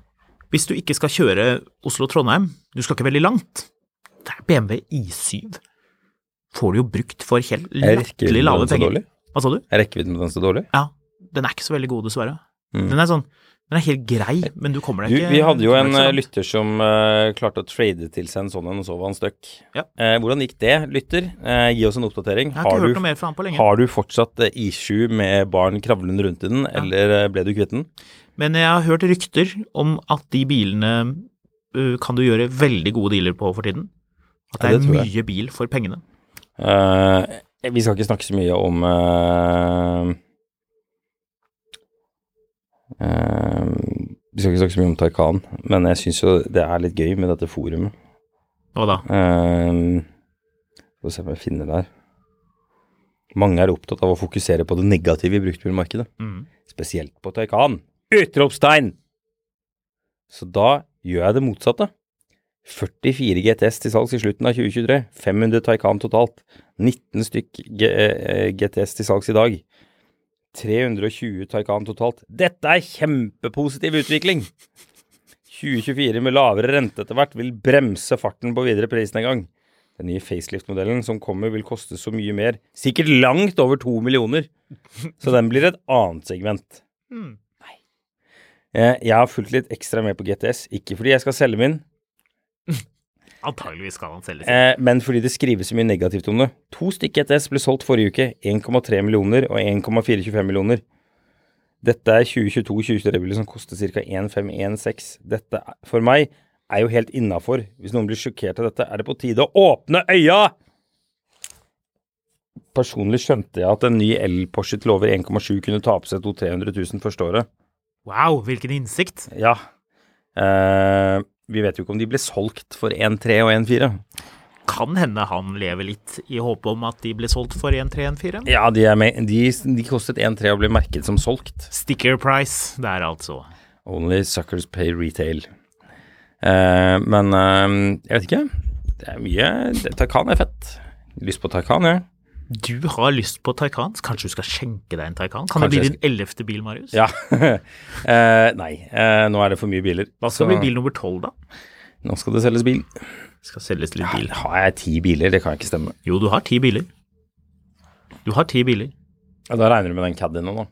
Speaker 2: hvis du ikke skal kjøre Oslo-Trondheim, du skal ikke veldig langt, det er BMW i7. Får du jo brukt for helt
Speaker 1: Er rekkevidden
Speaker 2: latterlig lave
Speaker 1: den så
Speaker 2: penger.
Speaker 1: dårlig?
Speaker 2: Hva sa du?
Speaker 1: Er rekkevidden på den så dårlig?
Speaker 2: Ja, den er ikke så veldig god, dessverre. Den er sånn Den er helt grei, men du kommer
Speaker 1: Mm. Du,
Speaker 2: deg ikke
Speaker 1: vi hadde jo
Speaker 2: kommer
Speaker 1: en
Speaker 2: deg ikke så
Speaker 1: eh,
Speaker 2: langt.
Speaker 1: lytter som eh, klarte å trade til seg en sånn en, og så var han stuck.
Speaker 2: Ja.
Speaker 1: Eh, hvordan gikk det, lytter? Eh, gi oss en oppdatering.
Speaker 2: Jeg har ikke
Speaker 1: du,
Speaker 2: hørt noe mer fra han på lenge.
Speaker 1: har du fortsatt eh, issue med barn kravlende rundt i den, eller eh, ble du kvitt den?
Speaker 2: Men jeg har hørt rykter om at de bilene ø, kan du gjøre veldig gode dealer på for tiden. At det
Speaker 1: Ja,
Speaker 2: er
Speaker 1: det tror jeg.
Speaker 2: mye bil for pengene.
Speaker 1: Eh, vi skal ikke snakke så mye om eh, eh, Vi skal ikke snakke så mye om Taycan, men jeg syns jo det er litt gøy med dette forumet.
Speaker 2: Hva da?
Speaker 1: Eh, Skal vi se om jeg finner det her. Mange er opptatt av å fokusere på det negative i bruktbilmarkedet,
Speaker 2: Mm.
Speaker 1: spesielt på Taycan. Utropstegn! Så da gjør jeg det motsatte. 44 GTS til salgs i slutten av 2023. 500 Taycan totalt. 19 stykk G eh, GTS til salgs i dag. 320 Taycan totalt. Dette er kjempepositiv utvikling! 2024 med lavere rente etter hvert vil bremse farten på videre prisnedgang. Den nye facelift-modellen som kommer vil koste så mye mer, sikkert langt over to millioner. Så den blir et annet segment.
Speaker 2: Mm.
Speaker 1: Eh, Jeg har fulgt litt ekstra med på GTS, ikke fordi jeg skal selge min,
Speaker 2: Antageligvis skal han selge sin.
Speaker 1: eh, men fordi det skrives så mye negativt om det. To stykk GTS ble solgt forrige uke, 1,3 millioner og 1,425 millioner. Dette er 2022-2023-biler som koster ca. 1516. Dette er- for meg er jo helt innafor. Hvis noen blir sjokkert av dette, er det på tide å åpne øya! Personlig skjønte jeg at en ny el-Porsche til over 1,7 kunne ta på seg 200 000-300 000 første året.
Speaker 2: Wow, hvilken innsikt!
Speaker 1: Ja. Eh, vi vet jo ikke om de ble solgt for 1,3 og 1,4.
Speaker 2: Kan hende han lever litt i håp om at de ble solgt for 1314.
Speaker 1: Ja, de, er med, de, de kostet 1,3 og ble merket som solgt.
Speaker 2: Sticker price der, altså.
Speaker 1: Only suckers pay retail. Eh, men eh, jeg vet ikke. Det er mye det- Taycan er fett. Lyst på Taycan, jeg.
Speaker 2: Du har lyst på Taycan. Kanskje du skal skjenke deg en Taycan? Kan
Speaker 1: Kanskje
Speaker 2: det bli
Speaker 1: jeg
Speaker 2: din ellevte bil, Marius?
Speaker 1: Ja. eh, nei, eh, nå er det for mye biler.
Speaker 2: Hva skal
Speaker 1: Så
Speaker 2: bli bil nummer tolv, da?
Speaker 1: Nå skal det selges bil.
Speaker 2: Skal selges litt bil.
Speaker 1: Har jeg ti biler? Det kan ikke stemme.
Speaker 2: Jo, du har ti biler. Du har ti biler.
Speaker 1: Ja, da regner du med den Caddien nå, da.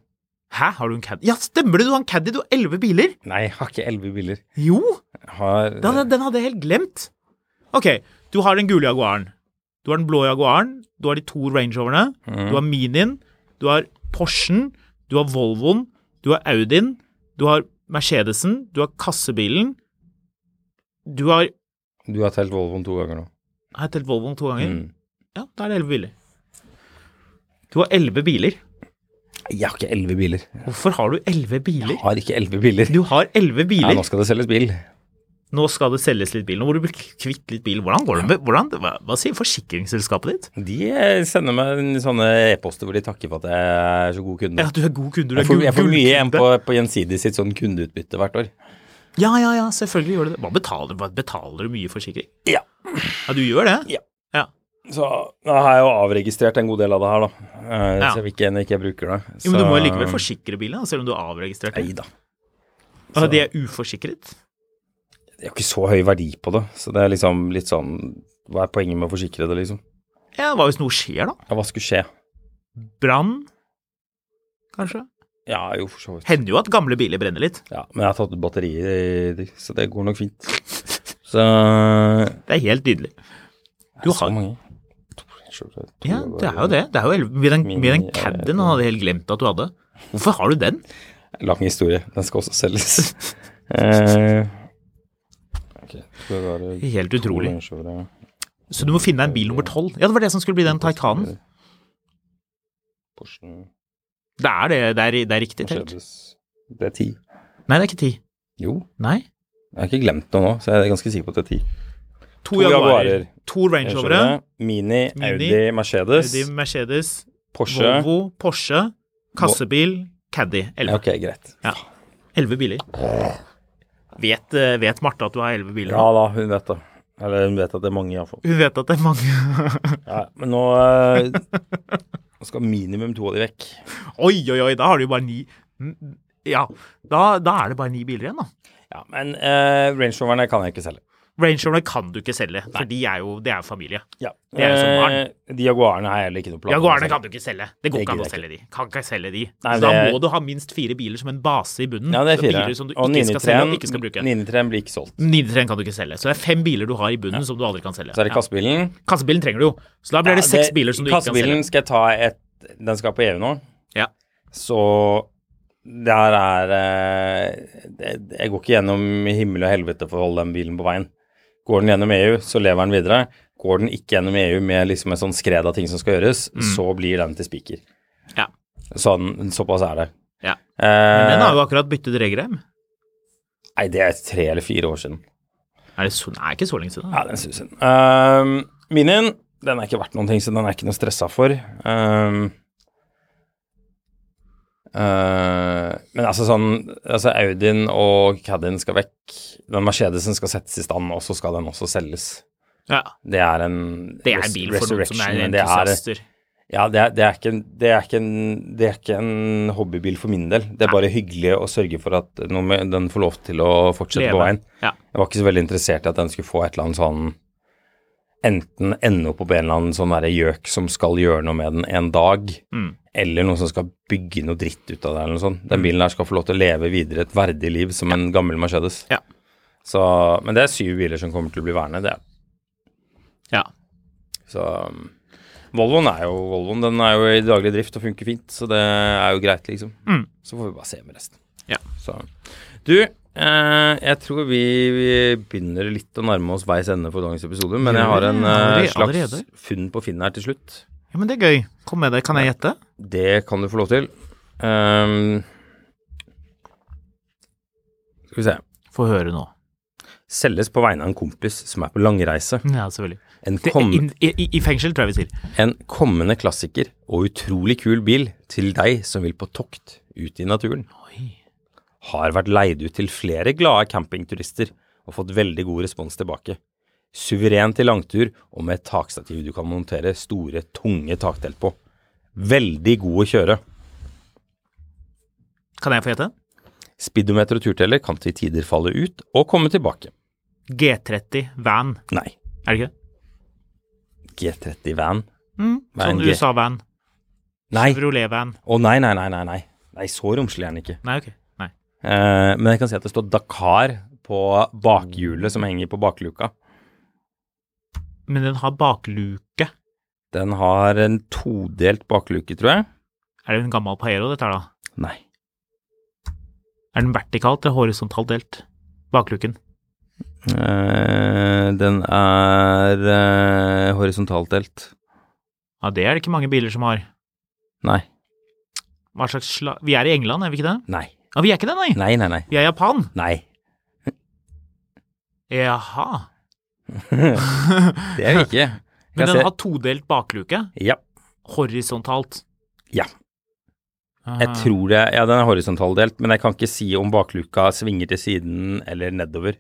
Speaker 2: Hæ, har du en Caddy? Ja, stemmer det, du har en Caddy, du har elleve biler!
Speaker 1: Nei, jeg har ikke elleve biler.
Speaker 2: Jo,
Speaker 1: Jeg har
Speaker 2: den, hadde- den hadde jeg helt glemt. Ok, du har den gule Jaguaren, du har den blå Jaguaren, du har de to Range Roverne, du
Speaker 1: Mm.
Speaker 2: har Minien, du har Porschen, du har Volvoen, du har Audien, du har Mercedesen, du har kassebilen, du har
Speaker 1: Du har telt Volvoen to ganger nå.
Speaker 2: Har jeg telt Volvoen to ganger?
Speaker 1: Mm.
Speaker 2: Ja, da er det elleve biler. Du har elleve biler.
Speaker 1: Jeg har ikke elleve biler.
Speaker 2: Hvorfor har du elleve biler?
Speaker 1: Jeg har ikke elleve biler.
Speaker 2: Du har elleve
Speaker 1: Ja,
Speaker 2: biler.
Speaker 1: nå skal det selges bil.
Speaker 2: nå skal det selges litt bil, nå må du bli kvitt litt bil. Hvordan går det med hvordan, hva, hva sier forsikringsselskapet ditt?
Speaker 1: De eh, sender meg en sånne e-poster hvor de takker for at jeg er så god kunde.
Speaker 2: Ja, du er god kunde, du er
Speaker 1: Jeg får, jeg får mye igjen
Speaker 2: gullkunde.
Speaker 1: på, på Gjensidig sitt sånn kundeutbytte hvert år.
Speaker 2: Ja, ja, ja, selvfølgelig gjør du det. Hva betaler, hva betaler du mye forsikring?
Speaker 1: Ja.
Speaker 2: Ja, du gjør det?
Speaker 1: Ja. Så da har jeg jo avregistrert en god del av det her, da. Eh,
Speaker 2: Ja.
Speaker 1: Så hvilken jeg ikke bruker det.
Speaker 2: Jo, men du
Speaker 1: Så-
Speaker 2: må jo likevel forsikre bilen, da, selv om du har avregistrert
Speaker 1: Nei
Speaker 2: den.
Speaker 1: da.
Speaker 2: Altså, de er uforsikret?
Speaker 1: Det er jo ikke så høy verdi på det. Så det er liksom litt sånn Hva er poenget med å forsikre det, liksom?
Speaker 2: Ja, hva hvis noe skjer, da?
Speaker 1: Ja, hva skulle skje?
Speaker 2: Brann, kanskje?
Speaker 1: Ja, jo, for så vidt.
Speaker 2: Hender jo at gamle biler brenner litt.
Speaker 1: Ja, men jeg har tatt ut batterier, i de, så det går nok fint. Så Det
Speaker 2: Det er helt nydelig. Du
Speaker 1: er så
Speaker 2: har-
Speaker 1: mange. To, sju, åtte,
Speaker 2: Ja, det er jo det. Det er jo elleve. Med den, med den
Speaker 1: Min-
Speaker 2: Caddien han hadde helt glemt at du hadde. Hvorfor har du den?
Speaker 1: Lang historie. Den skal også selges. eh, ok, skal det være
Speaker 2: Helt
Speaker 1: to
Speaker 2: utrolig.
Speaker 1: Range Rover,
Speaker 2: Så du må finne deg en bil nummer tolv. Ja, det var det som skulle bli den Taycanen.
Speaker 1: Porschen,
Speaker 2: Det er det, det er, det er riktig telt.
Speaker 1: Mercedes Det er ti.
Speaker 2: Nei, det er ikke ti.
Speaker 1: Jo,
Speaker 2: Nei.
Speaker 1: jeg har ikke glemt noe nå, så jeg er ganske sikker på at det er ti.
Speaker 2: To,
Speaker 1: To
Speaker 2: Jaguarer,
Speaker 1: Jaguarer.
Speaker 2: to Range
Speaker 1: Range
Speaker 2: Rovere,
Speaker 1: Rover, Mini,
Speaker 2: Mini,
Speaker 1: Audi, Mercedes,
Speaker 2: Audi, Mercedes,
Speaker 1: Porsche
Speaker 2: Volvo, Porsche, kassebil, Caddy.
Speaker 1: Ja,
Speaker 2: Elleve.
Speaker 1: Ok, greit.
Speaker 2: Ja. Elleve biler. Vet, eh, vet Marte at du har elleve biler?
Speaker 1: Ja da, hun vet det. Eller hun vet at det er mange, iallfall.
Speaker 2: Hun vet at det er mange.
Speaker 1: Ja, men nå eh, nå skal minimum to av de vekk.
Speaker 2: Oi, oi, oi, da har du jo bare ni. Mm, Ja, da, da er det bare ni biler igjen, da.
Speaker 1: Ja, Men eh, Range Roverne kan jeg ikke selge.
Speaker 2: Range Roverne kan du ikke selge, for de er jo, det er jo familie.
Speaker 1: Ja.
Speaker 2: Det er jo som barn.
Speaker 1: Eh, de jaguarene har jeg heller ikke noe plan om å
Speaker 2: Jaguarene
Speaker 1: selge.
Speaker 2: kan du ikke selge. Det går
Speaker 1: Det
Speaker 2: ikke an
Speaker 1: gidder
Speaker 2: å
Speaker 1: jeg
Speaker 2: selge de. Kan ikke selge de.
Speaker 1: Nei,
Speaker 2: så da
Speaker 1: det er-
Speaker 2: må du ha minst fire biler som en base i bunnen.
Speaker 1: Ja, det er fire.
Speaker 2: Biler som du
Speaker 1: Og
Speaker 2: ikke skal selge og ikke skal bruke.
Speaker 1: 993 blir ikke solgt.
Speaker 2: 993 kan du ikke selge. Så det er fem biler du har i bunnen som du aldri kan selge.
Speaker 1: Så er det kassebilen.
Speaker 2: Ja. Kassebilen trenger du jo. Så da blir det
Speaker 1: Ja,
Speaker 2: seks biler som du ikke kan
Speaker 1: Kassebilen
Speaker 2: selge.
Speaker 1: skal jeg ta et Den skal på EU nå.
Speaker 2: Ja.
Speaker 1: Så der er eh, det- Jeg går ikke gjennom himmel og helvete for å holde den bilen på veien. Går den gjennom EU, så lever den videre. Går den ikke gjennom EU med liksom et sånn skred av ting som skal gjøres,
Speaker 2: Mm.
Speaker 1: så blir den til spiker.
Speaker 2: Ja.
Speaker 1: Sånn, såpass er det.
Speaker 2: Ja. Men den har
Speaker 1: Eh,
Speaker 2: jo akkurat byttet regelrem.
Speaker 1: nei, det er tre eller fire år siden.
Speaker 2: Er det så, nei, ikke så lenge siden.
Speaker 1: Ja, den susen. Ehm, minien, den er ikke verdt noen ting, så den er ikke noe stressa for. Ehm, eh, men altså sånn altså Audien og Caddien skal vekk. Den Mercedesen skal settes i stand, og så skal den også selges.
Speaker 2: Ja.
Speaker 1: Det er en
Speaker 2: Det er en
Speaker 1: res-
Speaker 2: bil for noen som
Speaker 1: resurrection,
Speaker 2: er
Speaker 1: men det
Speaker 2: entusiaster.
Speaker 1: ja, det er, det, er ikke en, det, er ikke en, det er ikke en hobbybil for min del. Det er bare hyggelig å sørge for at noe med- den får lov til å fortsette på
Speaker 2: Leve.
Speaker 1: veien.
Speaker 2: Ja.
Speaker 1: Jeg var ikke så veldig interessert i at den skulle få et eller annet sånn Enten ende opp på en eller annen sånn derre gjøk som skal gjøre noe med den en dag,
Speaker 2: Mm.
Speaker 1: eller noen som skal bygge noe dritt ut av det eller noe sånt. Den bilen der skal få lov til å leve videre et verdig liv som en gammel Mercedes.
Speaker 2: Ja.
Speaker 1: Så, men det er syv biler som kommer til å bli værende, det er
Speaker 2: Ja.
Speaker 1: så um, Volvoen er jo Volvoen. Den er jo i daglig drift og funker fint, så det er jo greit, liksom.
Speaker 2: Mm.
Speaker 1: Så får vi bare se med resten.
Speaker 2: Ja.
Speaker 1: Så. Du, eh, jeg tror vi, vi begynner litt å nærme oss veis ende for dagens episode, men jeg har en eh,
Speaker 2: Allerede-
Speaker 1: slags
Speaker 2: allerede?
Speaker 1: funn på Finn her til slutt.
Speaker 2: ja, men det er gøy. Kom med det. Kan jeg gjette?
Speaker 1: Det kan du få lov til. Um, skal vi se.
Speaker 2: Få høre nå.
Speaker 1: Selges på vegne av en kompis som er på langreise.
Speaker 2: Ja, selvfølgelig.
Speaker 1: En
Speaker 2: Det,
Speaker 1: kom...
Speaker 2: i, i, I fengsel, tror jeg vi sier.
Speaker 1: En kommende klassiker og utrolig kul bil til deg som vil på tokt ut i naturen. Har vært leid ut til flere glade campingturister og fått veldig god respons tilbake. Suveren til langtur og med et takstativ du kan montere store, tunge takdelt på. Veldig god å kjøre.
Speaker 2: Kan jeg få gjette?
Speaker 1: Speedometer og turteller kan til tider falle ut og komme tilbake.
Speaker 2: G30 van.
Speaker 1: Nei,
Speaker 2: Er det ikke?
Speaker 1: G30 van.
Speaker 2: Mm,
Speaker 1: Hva er en
Speaker 2: sånn
Speaker 1: G?
Speaker 2: USA-van.
Speaker 1: Nei, å
Speaker 2: Rolet-van.
Speaker 1: nei, nei, nei, nei, nei. Nei, så romslig er den ikke.
Speaker 2: Nei, ok. Nei.
Speaker 1: Eh, men jeg kan si at det står Dakar på bakhjulet som henger på bakluka.
Speaker 2: Men den har bakluke.
Speaker 1: Den har en todelt bakluke, tror jeg.
Speaker 2: Er det en gammel Paero dette her, da?
Speaker 1: Nei.
Speaker 2: Er den vertikalt eller horisontalt delt? Bakluken.
Speaker 1: Eh, den er eh, horisontalt delt.
Speaker 2: Ja, det er det ikke mange biler som har.
Speaker 1: Nei.
Speaker 2: Hva slags sla... Vi er i England, er vi ikke det?
Speaker 1: Nei.
Speaker 2: Ja, vi er ikke det, nei!
Speaker 1: Nei, nei, nei.
Speaker 2: Vi er i Japan!
Speaker 1: Nei.
Speaker 2: Jaha.
Speaker 1: Det er vi ikke. Kan
Speaker 2: Men
Speaker 1: se-
Speaker 2: den har todelt bakluke.
Speaker 1: Ja.
Speaker 2: Horisontalt.
Speaker 1: Ja.
Speaker 2: Ah.
Speaker 1: Jeg tror det Ja, den er horisontalt delt, men jeg kan ikke si om bakluka svinger til siden eller nedover.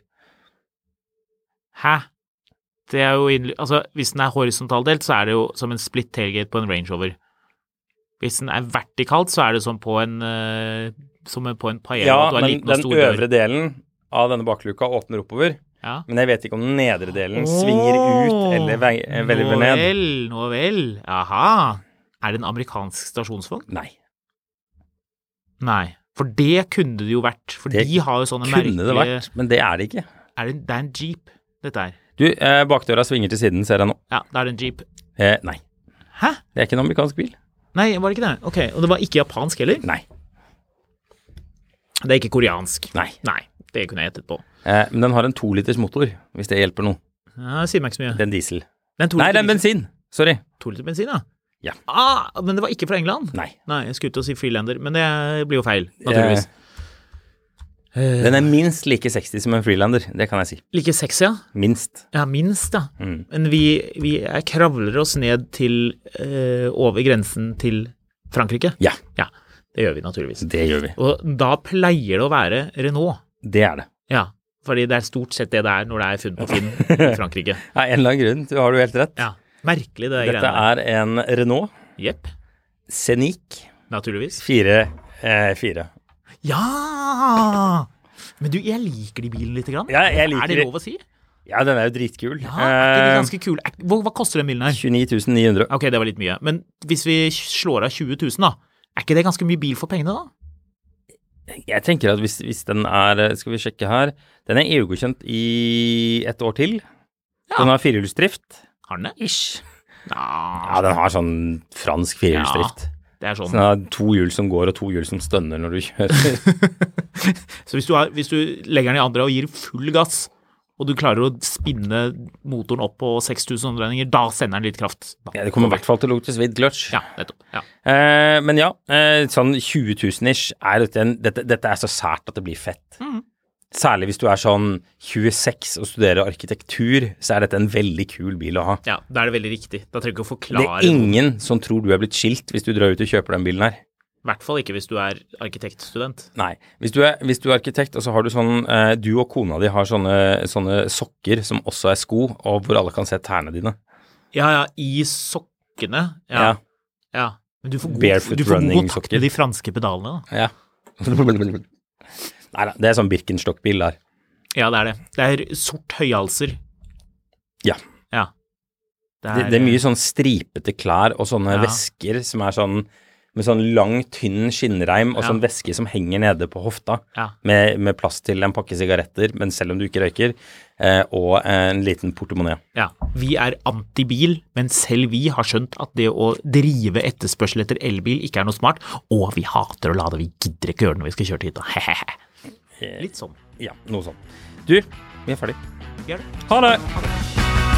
Speaker 2: Hæ? Det er jo innly... Altså, hvis den er horisontalt delt, så er det jo som en split tailgate på en Range Rover. Hvis den er vertikalt, så er det som på en eh, Som en- på en Paero.
Speaker 1: Ja,
Speaker 2: at du har
Speaker 1: men
Speaker 2: liten og
Speaker 1: den
Speaker 2: stor dør.
Speaker 1: øvre delen av denne bakluka åpner oppover.
Speaker 2: Ja.
Speaker 1: Men jeg vet ikke om den nedre delen svinger ut eller vei- eh, velger
Speaker 2: Nå
Speaker 1: ned.
Speaker 2: vel, nå vel. Aha. Er det en amerikansk stasjonsvogn?
Speaker 1: Nei.
Speaker 2: Nei. For det kunne det jo vært. For
Speaker 1: Det
Speaker 2: de har jo sånne
Speaker 1: Kunne
Speaker 2: merkelige
Speaker 1: det vært, men det er det ikke.
Speaker 2: Er det, det er en jeep, dette her.
Speaker 1: Du, eh, bakdøra svinger til siden, ser jeg nå.
Speaker 2: Ja, det er en jeep.
Speaker 1: Eh, nei.
Speaker 2: Hæ?
Speaker 1: Det er ikke en amerikansk bil.
Speaker 2: Nei, var det ikke det? Ok, Og det var ikke japansk heller?
Speaker 1: Nei.
Speaker 2: Det er ikke koreansk.
Speaker 1: Nei.
Speaker 2: Nei, det kunne jeg gjettet på.
Speaker 1: Eh, men den har en toliters motor, hvis det hjelper noe.
Speaker 2: Ja, det sier meg ikke så mye.
Speaker 1: Det er en diesel.
Speaker 2: Den to
Speaker 1: Nei, det er
Speaker 2: liter,
Speaker 1: en bensin. Sorry.
Speaker 2: to liter bensin, da?
Speaker 1: Ja.
Speaker 2: Ah, men det var ikke fra England?
Speaker 1: Nei.
Speaker 2: Nei, jeg skulle til å si freelander, men det blir jo feil, naturligvis.
Speaker 1: Eh, den er minst like 60 som en Freelander, det kan jeg si.
Speaker 2: Like sexy, ja.
Speaker 1: Minst.
Speaker 2: Ja, minst, da.
Speaker 1: Mm.
Speaker 2: Men vi, vi er- kravler oss ned til eh, over grensen til Frankrike.
Speaker 1: Ja,
Speaker 2: Ja, det gjør vi naturligvis.
Speaker 1: det gjør vi.
Speaker 2: Og da pleier det å være Renault.
Speaker 1: Det er det.
Speaker 2: Ja, fordi det er stort sett det det er når det er funnet på Finn i Frankrike.
Speaker 1: Av en eller annen grunn, du har du helt rett.
Speaker 2: Ja, Merkelig, det der
Speaker 1: Dette
Speaker 2: greiene der.
Speaker 1: er en Renault
Speaker 2: Jepp.
Speaker 1: Scenic
Speaker 2: Naturligvis.
Speaker 1: 4. Eh, fire.
Speaker 2: Ja! Men du, jeg liker de bilene lite grann.
Speaker 1: Ja, jeg liker
Speaker 2: er det
Speaker 1: de.
Speaker 2: lov å si?
Speaker 1: Ja, den er jo dritkul. Eh,
Speaker 2: Ja, er ikke det ganske kul? Er- Hva, hva koster den bilen her?
Speaker 1: 29 900.
Speaker 2: Ok, det var litt mye. Men hvis vi slår av 20 000, da, er ikke det ganske mye bil for pengene, da?
Speaker 1: Jeg tenker at hvis, hvis den er eh, Skal vi sjekke her. Den er EU-godkjent i et år til. Den har firehjulsdrift.
Speaker 2: Har den det?
Speaker 1: Ish. Ja,
Speaker 2: Ja,
Speaker 1: den har sånn fransk firehjulsdrift.
Speaker 2: det er
Speaker 1: Så
Speaker 2: sånn.
Speaker 1: den har to hjul som går, og to hjul som stønner når du kjører.
Speaker 2: Så hvis du, har, hvis du legger den i andre og gir full gass, og du klarer å spinne motoren opp på 6000 omdreininger, da sender den litt kraft. Da.
Speaker 1: Ja, det kommer i hvert fall til å lukte svidd clutch.
Speaker 2: Ja, nettopp. Ja.
Speaker 1: Eh, men ja, eh, sånn 20 000 ish er dette, en, dette, dette er så sært at det blir fett. Særlig hvis du er sånn 26 og studerer arkitektur, så er dette en veldig kul bil å ha.
Speaker 2: ja, da er det veldig riktig. Da trenger du ikke å
Speaker 1: Det
Speaker 2: forklare
Speaker 1: er ingen som tror du er blitt skilt hvis du drar ut og kjøper den bilen her.
Speaker 2: I hvert fall ikke hvis du er arkitektstudent.
Speaker 1: Nei. Hvis du er, hvis du er arkitekt, og så har du sånn eh, Du og kona di har sånne, sånne sokker som også er sko, og hvor alle kan se tærne dine.
Speaker 2: Ja, ja, i sokkene. Ja.
Speaker 1: Ja.
Speaker 2: ja. Men du får god,
Speaker 1: Barefoot
Speaker 2: du får god
Speaker 1: running-sokker.
Speaker 2: kontakt med de franske pedalene, da.
Speaker 1: Ja. Nei da, det er sånn Birkenstock-bil der.
Speaker 2: Ja, det er det. Det er sort høyhalser.
Speaker 1: Ja.
Speaker 2: Ja.
Speaker 1: Det, det er mye sånn stripete klær og sånne
Speaker 2: Ja.
Speaker 1: vesker som er sånn med sånn lang, tynn skinnreim og
Speaker 2: Ja.
Speaker 1: sånn væske som henger nede på hofta,
Speaker 2: Ja.
Speaker 1: med, med plass til en pakke sigaretter, men selv om du ikke røyker, eh, og en liten portemonee.
Speaker 2: Ja, vi er antibil, men selv vi har skjønt at det å drive etterspørsel etter elbil ikke er noe smart, og vi hater å lade, vi gidder ikke gjøre det når vi skal kjøre til hytta. Hehehe. Litt sånn.
Speaker 1: Ja, noe sånt. Du, vi er ferdig.
Speaker 2: Vi er det.
Speaker 1: Ha det!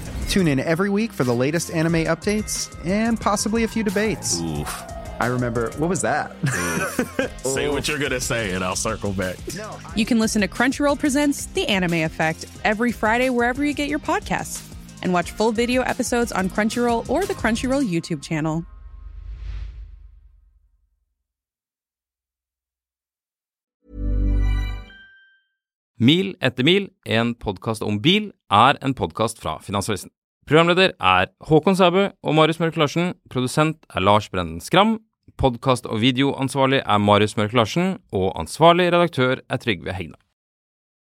Speaker 3: Tune in every week for the latest anime updates and possibly a few debates.
Speaker 4: Oof.
Speaker 3: I remember, what was that?
Speaker 4: Say what you're gonna say, and I'll circle back.
Speaker 5: You can listen to Crunchyroll Presents The Anime Effect every Friday wherever you get your podcasts and watch full video episodes on Crunchyroll or the Crunchyroll YouTube channel.
Speaker 1: Mil etter mil, en podkast om bil, er en podkast fra Finansavisen. Programleder er Håkon Sæbø og Marius Mørk Larsen. Produsent er Lars Brenden Skram. Podkast- og videoansvarlig er Marius Mørk Larsen. Og ansvarlig redaktør er Trygve Hegna.